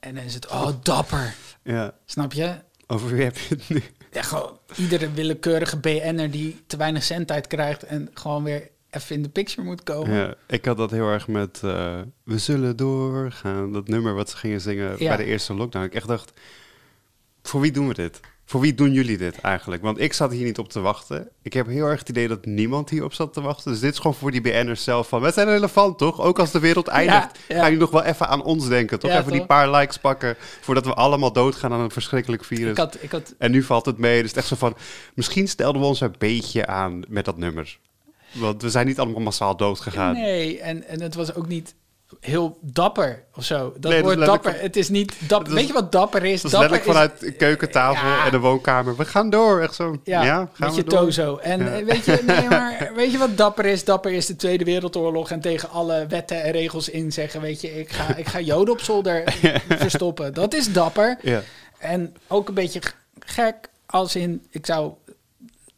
Speaker 2: En dan is het, oh, dapper.
Speaker 1: ja.
Speaker 2: Snap je?
Speaker 1: Over wie heb je het nu?
Speaker 2: Ja, gewoon iedere willekeurige BN'er die te weinig zendtijd krijgt en gewoon weer even in de picture moet komen.
Speaker 1: Ja, ik had dat heel erg met eh, We zullen doorgaan. Dat nummer wat ze gingen zingen
Speaker 2: Ja.
Speaker 1: bij de eerste lockdown. Ik echt dacht, voor wie doen we dit? Voor wie doen jullie dit eigenlijk? Want ik zat hier niet op te wachten. Ik heb heel erg het idee dat niemand hierop zat te wachten. Dus dit is gewoon voor die BN'ers zelf van... We zijn relevant, toch? Ook als de wereld eindigt,
Speaker 2: ja.
Speaker 1: gaan jullie nog wel even aan ons denken, toch?
Speaker 2: Ja,
Speaker 1: even die
Speaker 2: toch?
Speaker 1: paar likes pakken voordat we allemaal doodgaan aan een verschrikkelijk virus.
Speaker 2: Ik had, ik had
Speaker 1: En nu valt het mee. Dus het is echt zo van, misschien stelden we ons een beetje aan met dat nummer. Want we zijn niet allemaal massaal dood gegaan.
Speaker 2: Nee, en, en het was ook niet heel dapper of zo. Dat
Speaker 1: Nee, dat is
Speaker 2: woord
Speaker 1: letterlijk
Speaker 2: dapper, het is niet dapper.
Speaker 1: Dat is-
Speaker 2: Weet je wat dapper is?
Speaker 1: Dat is
Speaker 2: dapper
Speaker 1: letterlijk vanuit de keukentafel
Speaker 2: Ja.
Speaker 1: en de woonkamer. We gaan door, echt zo. Ja,
Speaker 2: Ja,
Speaker 1: gaan
Speaker 2: met
Speaker 1: we
Speaker 2: je
Speaker 1: door.
Speaker 2: tozo. En
Speaker 1: Ja.
Speaker 2: eh, weet, je, nee, maar, weet je wat dapper is? Dapper is de Tweede Wereldoorlog en tegen alle wetten en regels in zeggen... weet je, ik ga, ik ga joden op zolder verstoppen. Dat is dapper.
Speaker 1: Ja.
Speaker 2: En ook een beetje g- gek als in... ik zou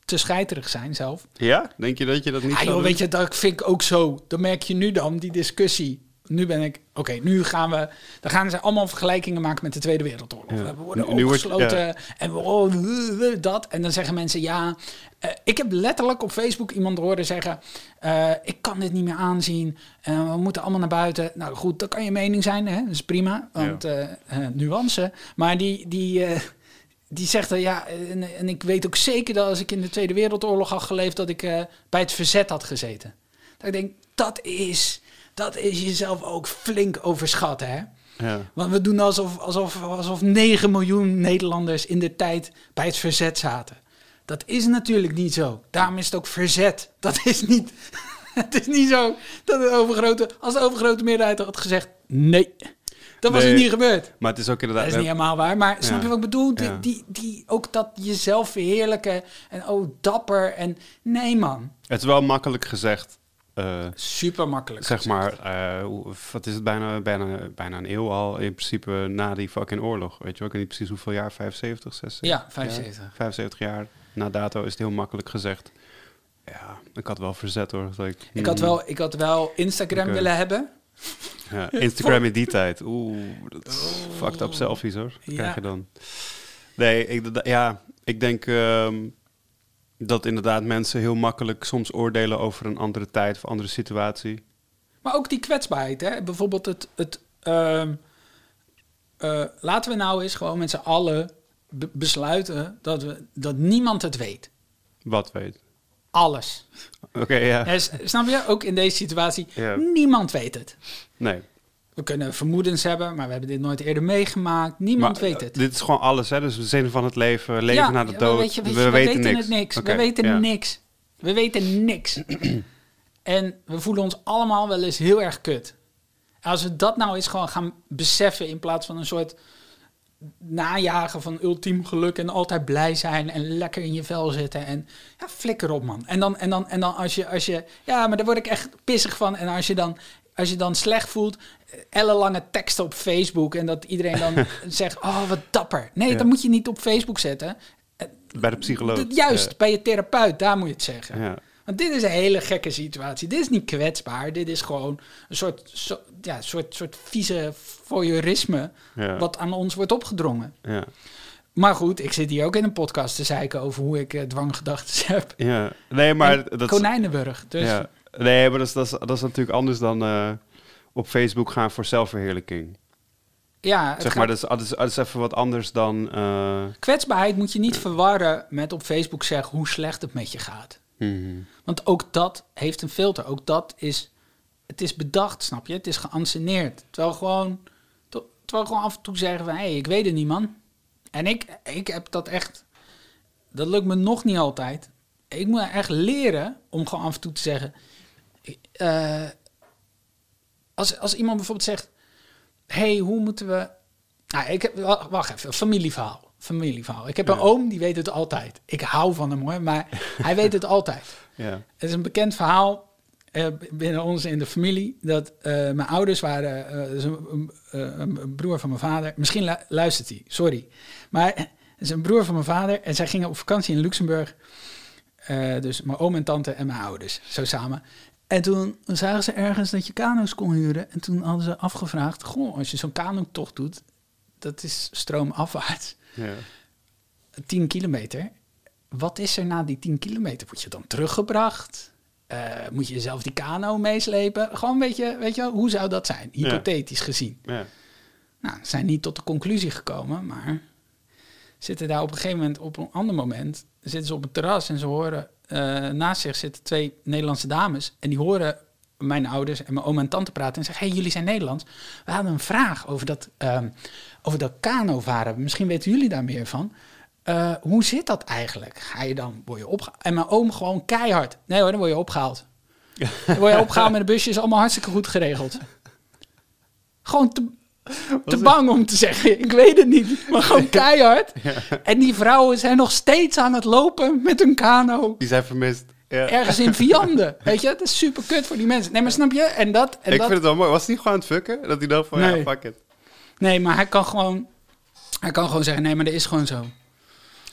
Speaker 2: te scheiterig zijn zelf.
Speaker 1: ja, denk je dat je dat niet
Speaker 2: Ah,
Speaker 1: zou
Speaker 2: joh,
Speaker 1: doen?
Speaker 2: weet je, dat vind ik ook zo. Dan merk je nu dan die discussie. Nu ben ik, oké, nu gaan we, dan gaan ze allemaal vergelijkingen maken met de Tweede Wereldoorlog.
Speaker 1: Ja.
Speaker 2: We worden
Speaker 1: Nu- nu wordt-
Speaker 2: opgesloten en we, oh, we- we- dat. En dan zeggen mensen, ja, eh, ik heb letterlijk op Facebook iemand horen zeggen, eh, ik kan dit niet meer aanzien. en we moeten allemaal naar buiten. Nou goed, dat kan je mening zijn, hè? dat is prima, want eh, eh, nuance. Maar die, die, eh, die zegt dan, ja, en, en ik weet ook zeker dat als ik in de Tweede Wereldoorlog had geleefd, dat ik eh, bij het verzet had gezeten. Dat ik denk, dat is, dat is jezelf ook flink overschatten, hè?
Speaker 1: Ja.
Speaker 2: Want we doen alsof, alsof, alsof 9 miljoen Nederlanders in de tijd bij het verzet zaten. Dat is natuurlijk niet zo. Daarom is het ook verzet. Dat is niet, het is niet zo dat de overgrote, als de overgrote meerderheid had gezegd, nee, dan was
Speaker 1: Nee.
Speaker 2: het niet gebeurd.
Speaker 1: Maar het is ook
Speaker 2: Dat
Speaker 1: inderdaad...
Speaker 2: is niet helemaal waar, maar snap
Speaker 1: Ja.
Speaker 2: je wat ik bedoel? Die,
Speaker 1: Ja.
Speaker 2: die, die, ook dat jezelf verheerlijken en oh, dapper en nee man.
Speaker 1: Het is wel makkelijk gezegd eh,
Speaker 2: Super makkelijk.
Speaker 1: zeg maar, eh, hoe- wat is het bijna, bijna, bijna een eeuw al in principe na die fucking oorlog. Weet je wel, ik weet niet precies hoeveel jaar, 75, 60?
Speaker 2: Ja, 75.
Speaker 1: 75 jaar na dato is het heel makkelijk gezegd. Ja, ik had wel verzet hoor. Dat ik,
Speaker 2: Ik had wel, ik had wel Instagram
Speaker 1: Hmm. Oké.
Speaker 2: willen hebben.
Speaker 1: Ja, Instagram in die tijd. Oeh, dat is fucked up selfies hoor. Wat
Speaker 2: Oh. Ja.
Speaker 1: krijg je dan? Nee, ik, d- ja, ik denk ehm, dat inderdaad mensen heel makkelijk soms oordelen over een andere tijd of andere situatie.
Speaker 2: Maar ook die kwetsbaarheid, hè? Bijvoorbeeld het... het ehm, eh, laten we nou eens gewoon met z'n allen be- besluiten dat, we, dat niemand het weet.
Speaker 1: Wat weet.
Speaker 2: Alles.
Speaker 1: Oké, ja.
Speaker 2: Eh, s- snap je? Ook in deze situatie.
Speaker 1: Ja.
Speaker 2: Niemand weet het.
Speaker 1: Nee.
Speaker 2: We kunnen vermoedens hebben, maar we hebben dit nooit eerder meegemaakt. Niemand
Speaker 1: Maar,
Speaker 2: weet het.
Speaker 1: eh, Dit is gewoon alles, hè? Dus de zin van het leven, leven
Speaker 2: Ja,
Speaker 1: naar de
Speaker 2: ja,
Speaker 1: dood.
Speaker 2: weet je, weet je,
Speaker 1: we, weten niks.
Speaker 2: het niks.
Speaker 1: Oké,
Speaker 2: we weten
Speaker 1: ja.
Speaker 2: niks. We weten niks. en we voelen ons allemaal wel eens heel erg kut. En als we dat nou eens gewoon gaan beseffen in plaats van een soort najagen van ultiem geluk en altijd blij zijn en lekker in je vel zitten en ja, flikker op man. En dan, en dan, en dan als, je, als je, ja, maar daar word ik echt pissig van. En als je dan, als je dan slecht voelt, eh, ellenlange teksten op Facebook en dat iedereen dan zegt, oh wat dapper. Nee,
Speaker 1: Ja.
Speaker 2: dat moet je niet op Facebook zetten. Eh,
Speaker 1: Bij de psycholoog. eh,
Speaker 2: d- Juist, bij je therapeut, daar moet je het zeggen.
Speaker 1: Ja. Ja.
Speaker 2: Want dit is een hele gekke situatie. Dit is niet kwetsbaar. Dit is gewoon een soort, zo, ja, soort, soort vieze voyeurisme
Speaker 1: Ja.
Speaker 2: wat aan ons wordt opgedrongen.
Speaker 1: Ja.
Speaker 2: Maar goed, ik zit hier ook in een podcast te zeiken over hoe ik eh, dwanggedachten heb.
Speaker 1: Ja. Nee, maar
Speaker 2: En
Speaker 1: dat is-
Speaker 2: Konijnenburg. Dus
Speaker 1: Ja. Nee, maar dat is, dat, is, dat is natuurlijk anders dan eh, op Facebook gaan voor zelfverheerlijking.
Speaker 2: ja, het
Speaker 1: Zeg
Speaker 2: gaat-
Speaker 1: maar, dat is, dat, is, dat is even wat anders dan... eh,
Speaker 2: kwetsbaarheid moet je niet verwarren met op Facebook zeggen hoe slecht het met je gaat.
Speaker 1: mhm.
Speaker 2: Want ook dat heeft een filter. Ook dat is, het is bedacht, snap je? Het is geanceneerd. Terwijl gewoon, ter- terwijl gewoon af en toe zeggen we, hé, hey, ik weet het niet, man. En ik, ik heb dat echt, dat lukt me nog niet altijd. Ik moet echt leren om gewoon af en toe te zeggen, ik- eh, als, als iemand bijvoorbeeld zegt, hey, hoe moeten we... Nou, ik heb, wa- wacht even, familieverhaal. Familieverhaal. Ik heb een oom, die weet het altijd. Ik hou van hem hoor, maar hij weet het altijd.
Speaker 1: Ja.
Speaker 2: Het is een bekend verhaal eh, binnen ons in de familie. Dat eh, mijn ouders waren. eh, dus een, een- eh, een broer van mijn vader. Misschien lu- luistert hij, sorry. Maar eh, het is een broer van mijn vader. En zij gingen op vakantie in Luxemburg. Eh, dus mijn oom en tante en mijn ouders, zo samen. En toen zagen ze ergens dat je kano's kon huren. En toen hadden ze afgevraagd: Goh, als je zo'n kanotocht doet, dat is stroomafwaarts.
Speaker 1: Ja.
Speaker 2: 10 kilometer. Wat is er na die 10 kilometer? Word je dan teruggebracht? Eh, moet je zelf die kano meeslepen? Gewoon een beetje, weet je wel, hoe zou dat zijn?
Speaker 1: Ja.
Speaker 2: Hypothetisch gezien.
Speaker 1: Ja.
Speaker 2: Nou, ze zijn niet tot de conclusie gekomen, maar zitten daar op een gegeven moment, op een ander moment, zitten ze op het terras en ze horen, eh, naast zich zitten twee Nederlandse dames en die horen mijn ouders en mijn oom en tante praten en zeggen, hey, jullie zijn Nederlands. We hadden een vraag over dat, ehm over dat kanovaren. Misschien weten jullie daar meer van. Eh, hoe zit dat eigenlijk? Ga je dan, word je opgehaald? En mijn oom gewoon keihard. Nee hoor, dan word je opgehaald. Dan word je opgehaald met een busje, is allemaal hartstikke goed geregeld. Gewoon te, te bang om te zeggen. Ik weet het niet. Maar gewoon keihard. En die vrouwen zijn nog steeds aan het lopen met hun kano.
Speaker 1: Die zijn vermist. Ja.
Speaker 2: Ergens in Vianden. Weet je, dat is super kut voor die mensen. Nee, maar snap je? En dat. En
Speaker 1: Ik
Speaker 2: dat
Speaker 1: vind het wel mooi. Was hij gewoon aan het fucken? Dat hij dacht van,
Speaker 2: Nee.
Speaker 1: ja, fuck it.
Speaker 2: Nee, maar hij kan gewoon. Hij kan gewoon zeggen: nee, maar dat is gewoon zo.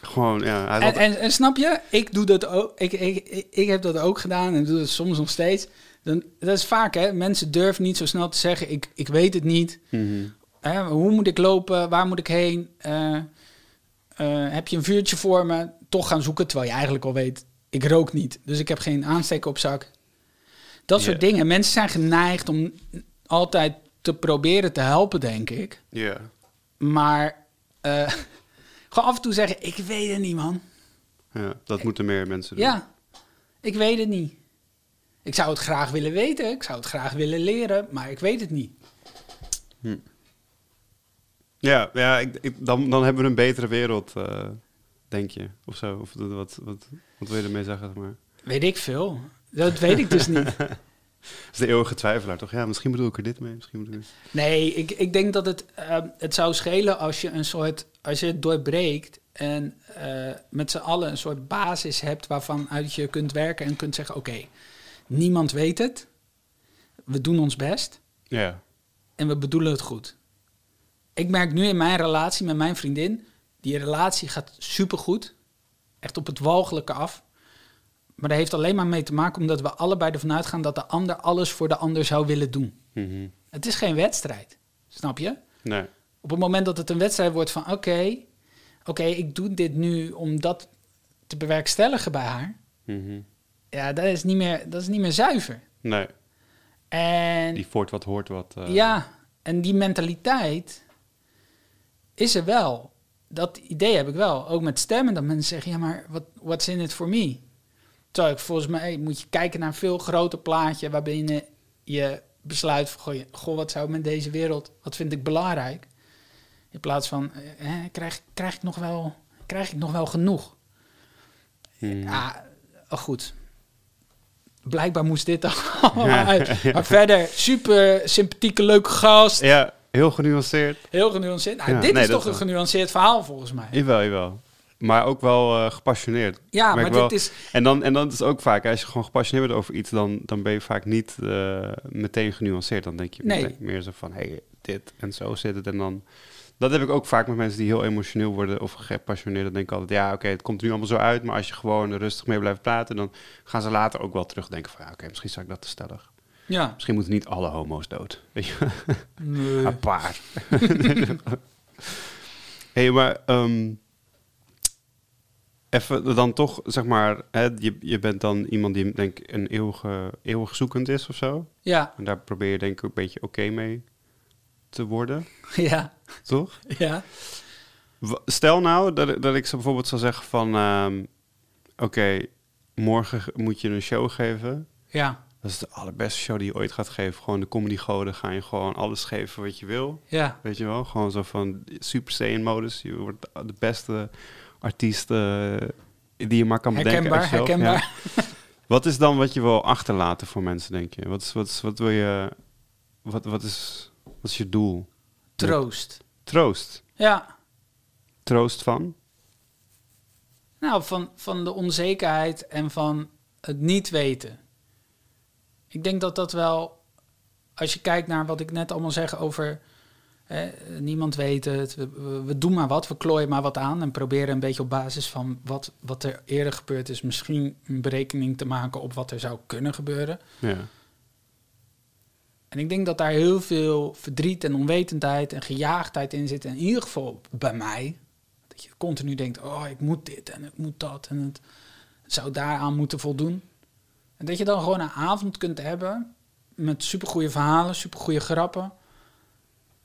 Speaker 1: Gewoon, ja. Hij
Speaker 2: En,
Speaker 1: had,
Speaker 2: en, en snap je? Ik doe dat ook. Ik, ik, ik, ik heb dat ook gedaan en doe dat soms nog steeds. Dan, dat is vaak, hè? Mensen durven niet zo snel te zeggen: ik, ik weet het niet.
Speaker 1: Mhm.
Speaker 2: Hè, hoe moet ik lopen? Waar moet ik heen? Eh, eh, heb je een vuurtje voor me? Toch gaan zoeken, terwijl je eigenlijk al weet, ik rook niet. Dus ik heb geen aansteken op zak. Dat soort
Speaker 1: Ja.
Speaker 2: dingen. Mensen zijn geneigd om altijd te proberen te helpen, denk ik.
Speaker 1: ja.
Speaker 2: Maar eh, gewoon af en toe zeggen, ik weet het niet, man.
Speaker 1: ja. Dat moeten meer mensen doen.
Speaker 2: Ja, ik weet het niet. Ik zou het graag willen weten, ik zou het graag willen leren, maar ik weet het niet.
Speaker 1: Ja, ja ik, ik- dan, dan hebben we een betere wereld, eh, denk je. Of zo. Of dat- wat, wat, wat wil je ermee zeggen? zeg Maar.
Speaker 2: Weet ik veel. Dat weet ik dus niet.
Speaker 1: Dat is de eeuwige twijfelaar, toch? Ja, misschien bedoel ik er dit mee. Misschien bedoel ik...
Speaker 2: Nee, ik, ik denk dat het, ehm, het zou schelen als je een soort, als je het doorbreekt en eh, met z'n allen een soort basis hebt waarvan uit je kunt werken en kunt zeggen, oké, Niemand weet het. We doen ons best
Speaker 1: Ja.
Speaker 2: en we bedoelen het goed. Ik merk nu in mijn relatie met mijn vriendin, die relatie gaat supergoed. Echt op het walgelijke af. Maar dat heeft alleen maar mee te maken omdat we allebei ervan uitgaan dat de ander alles voor de ander zou willen doen.
Speaker 1: Mhm.
Speaker 2: Het is geen wedstrijd, snap je?
Speaker 1: Nee.
Speaker 2: Op het moment dat het een wedstrijd wordt van oké, oké, ik doe dit nu om dat te bewerkstelligen bij haar.
Speaker 1: Mhm.
Speaker 2: Ja, dat is niet meer, dat is niet meer zuiver.
Speaker 1: Nee.
Speaker 2: En
Speaker 1: Die voort wat hoort wat. eh,
Speaker 2: Ja, en die mentaliteit is er wel. Dat idee heb ik wel. Ook met stemmen, dat mensen zeggen, ja, maar wat what's in it for me? Terwijl ik volgens mij moet je kijken naar een veel groter plaatje... waarbinnen je besluit van, goh, je- goh, wat zou ik met deze wereld... wat vind ik belangrijk? In plaats van, eh, krijg, krijg, ik nog wel, krijg ik nog wel genoeg?
Speaker 1: mhm.
Speaker 2: Ja, oh goed. Blijkbaar moest dit al
Speaker 1: Ja.
Speaker 2: uit. Maar verder, super sympathieke, leuke gast.
Speaker 1: Ja, heel genuanceerd.
Speaker 2: Heel genuanceerd. Nou,
Speaker 1: Ja,
Speaker 2: dit
Speaker 1: nee,
Speaker 2: is
Speaker 1: dat
Speaker 2: toch een
Speaker 1: wel.
Speaker 2: genuanceerd verhaal volgens mij.
Speaker 1: Jawel, jawel. Maar ook wel eh, gepassioneerd.
Speaker 2: Ja,
Speaker 1: Merk
Speaker 2: maar
Speaker 1: ik wel.
Speaker 2: dit is...
Speaker 1: En dan, en dan is het ook vaak, als je gewoon gepassioneerd bent over iets, dan, dan ben je vaak niet eh, meteen genuanceerd. Dan denk je
Speaker 2: Nee.
Speaker 1: meteen meer zo van, hé, hey, dit en zo zit het. En dan, dat heb ik ook vaak met mensen die heel emotioneel worden of gepassioneerd. Dan denk ik altijd, ja, oké, het komt nu allemaal zo uit. Maar als je gewoon er rustig mee blijft praten, dan gaan ze later ook wel terugdenken van, ja, oké, misschien zou ik dat te stellig.
Speaker 2: Ja.
Speaker 1: Misschien moeten niet alle homo's dood. Weet je?
Speaker 2: Nee.
Speaker 1: Een paar. hey, maar ehm, even dan toch, zeg maar, hè, je, je bent dan iemand die denk ik een eeuwige, eeuwig zoekend is of zo.
Speaker 2: Ja.
Speaker 1: En daar probeer je denk ik ook een beetje oké mee te worden,
Speaker 2: Ja.
Speaker 1: toch?
Speaker 2: Ja.
Speaker 1: W- Stel nou dat, dat ik ze bijvoorbeeld zou zeggen van, ehm, oké, morgen ge- moet je een show geven.
Speaker 2: Ja.
Speaker 1: Dat is de allerbeste show die je ooit gaat geven. Gewoon de comedy goden gaan je gewoon alles geven wat je wil.
Speaker 2: Ja.
Speaker 1: Weet je wel, gewoon zo van super saiyan modus. Je wordt de beste artiest eh, die je maar kan bedenken.
Speaker 2: Herkenbaar,
Speaker 1: uit jezelf,
Speaker 2: herkenbaar.
Speaker 1: ja. Wat is dan wat je wil achterlaten voor mensen, denk je? Wat, is, wat, is, wat wil je... Wat, wat, is, wat is je doel?
Speaker 2: Troost.
Speaker 1: Troost.
Speaker 2: Ja.
Speaker 1: Troost van?
Speaker 2: Nou, van, van de onzekerheid en van het niet weten. Ik denk dat dat wel, als je kijkt naar wat ik net allemaal zeg over hè, niemand weet het, we, we, we doen maar wat, we klooien maar wat aan en proberen een beetje op basis van wat, wat er eerder gebeurd is, misschien een berekening te maken op wat er zou kunnen gebeuren.
Speaker 1: Ja.
Speaker 2: En ik denk dat daar heel veel verdriet en onwetendheid en gejaagdheid in zit. En in ieder geval bij mij. Dat je continu denkt, oh, ik moet dit en ik moet dat. En het zou daaraan moeten voldoen. En dat je dan gewoon een avond kunt hebben met supergoeie verhalen, supergoeie grappen.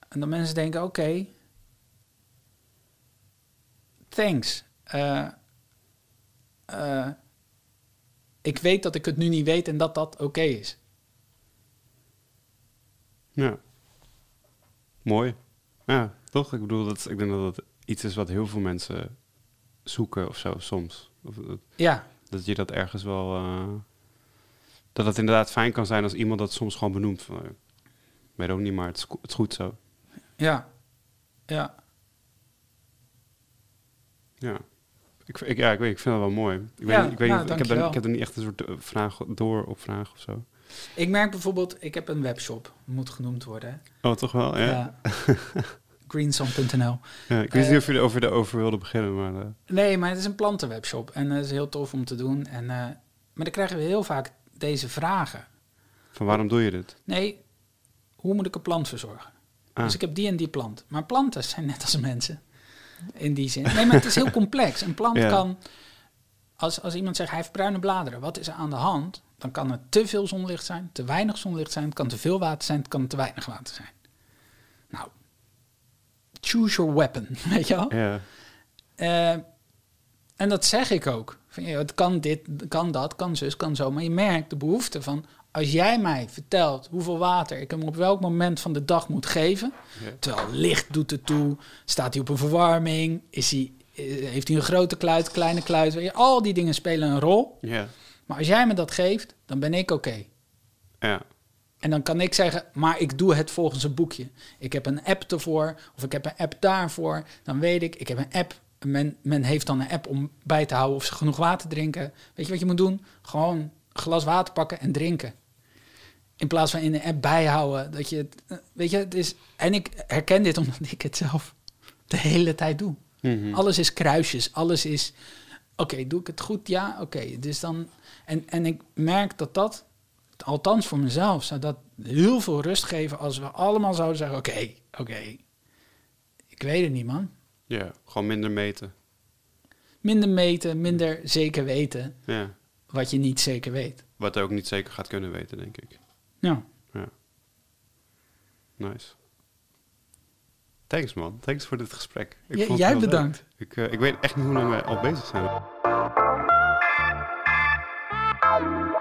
Speaker 2: En dan mensen denken, oké, thanks. Eh, eh, ik weet dat ik het nu niet weet en dat dat oké is.
Speaker 1: Ja. Mooi. Ja, toch? Ik bedoel, dat, is- ik denk dat dat iets is wat heel veel mensen zoeken of zo, soms. Of, dat-
Speaker 2: Ja,
Speaker 1: Dat je dat ergens wel. eh, dat het inderdaad fijn kan zijn als iemand dat soms gewoon benoemt. Van, eh, weet ook niet, maar het is, go- het is goed zo.
Speaker 2: ja, ja.
Speaker 1: Ja. Ik, ik, ja, ik, weet, ik vind dat wel mooi. Ik,
Speaker 2: Ja,
Speaker 1: weet, niet- ik, weet
Speaker 2: nou,
Speaker 1: niet, ik, heb er,
Speaker 2: dankjewel.
Speaker 1: ik heb er niet echt een soort eh, vraag door op vraag of zo.
Speaker 2: Ik merk bijvoorbeeld, ik heb een webshop, moet genoemd worden. hè.
Speaker 1: Oh, toch wel? Ja.
Speaker 2: Ja. Greenson.nl.
Speaker 1: Ja, ik wist
Speaker 2: Eh,
Speaker 1: niet of je erover de over wilde beginnen, maar. eh,
Speaker 2: Nee, maar het is een plantenwebshop en dat is heel tof om te doen. En, eh, maar dan krijgen we heel vaak deze vragen.
Speaker 1: van waarom doe je dit?
Speaker 2: Nee, hoe moet ik een plant verzorgen?
Speaker 1: Ah,
Speaker 2: Dus ik heb die en die plant. Maar planten zijn net als mensen. In die zin. Nee, maar het is heel complex. Een plant
Speaker 1: Ja.
Speaker 2: kan. Als, als iemand zegt hij heeft bruine bladeren, wat is er aan de hand? Dan kan het te veel zonlicht zijn, te weinig zonlicht zijn, het kan te veel water zijn, het kan te weinig water zijn. Nou, choose your weapon, weet je wel?
Speaker 1: ja.
Speaker 2: Eh, en dat zeg ik ook. Van, joh, het kan dit, kan dat, kan zus, kan zo. Maar je merkt de behoefte van... als jij mij vertelt hoeveel water ik hem op welk moment van de dag moet geven...
Speaker 1: Ja.
Speaker 2: terwijl licht doet het toe, staat hij op een verwarming... Is hij, eh, heeft hij een grote kluit, kleine kluit... weet je, al die dingen spelen een rol.
Speaker 1: Ja.
Speaker 2: Maar als jij me dat geeft, dan ben ik oké.
Speaker 1: Ja.
Speaker 2: En dan kan ik zeggen, maar ik doe het volgens een boekje. Ik heb een app ervoor, of ik heb een app daarvoor. Dan weet ik, ik heb een app. Men, men heeft dan een app om bij te houden of ze genoeg water drinken. Weet je wat je moet doen? Gewoon glas water pakken en drinken. In plaats van in de app bijhouden. Dat je het, eh, weet je, het is. En ik herken dit omdat ik het zelf de hele tijd doe.
Speaker 1: Mhm.
Speaker 2: Alles is kruisjes, alles is. Oké, doe ik het goed? Ja, oké. Dus dan. En, en ik merk dat dat, althans voor mezelf, zou dat heel veel rust geven als we allemaal zouden zeggen: Oké, oké. Ik weet het niet, man.
Speaker 1: Ja, gewoon minder meten.
Speaker 2: Minder meten, minder zeker weten
Speaker 1: Ja.
Speaker 2: wat je niet zeker weet.
Speaker 1: Wat hij ook niet zeker gaat kunnen weten, denk ik.
Speaker 2: Nou,
Speaker 1: Ja. Nice. Thanks man, thanks voor dit gesprek. Ik
Speaker 2: J-
Speaker 1: vond het
Speaker 2: jij
Speaker 1: heel leuk.
Speaker 2: bedankt.
Speaker 1: Ik, eh, ik weet echt niet hoe lang wij al bezig zijn.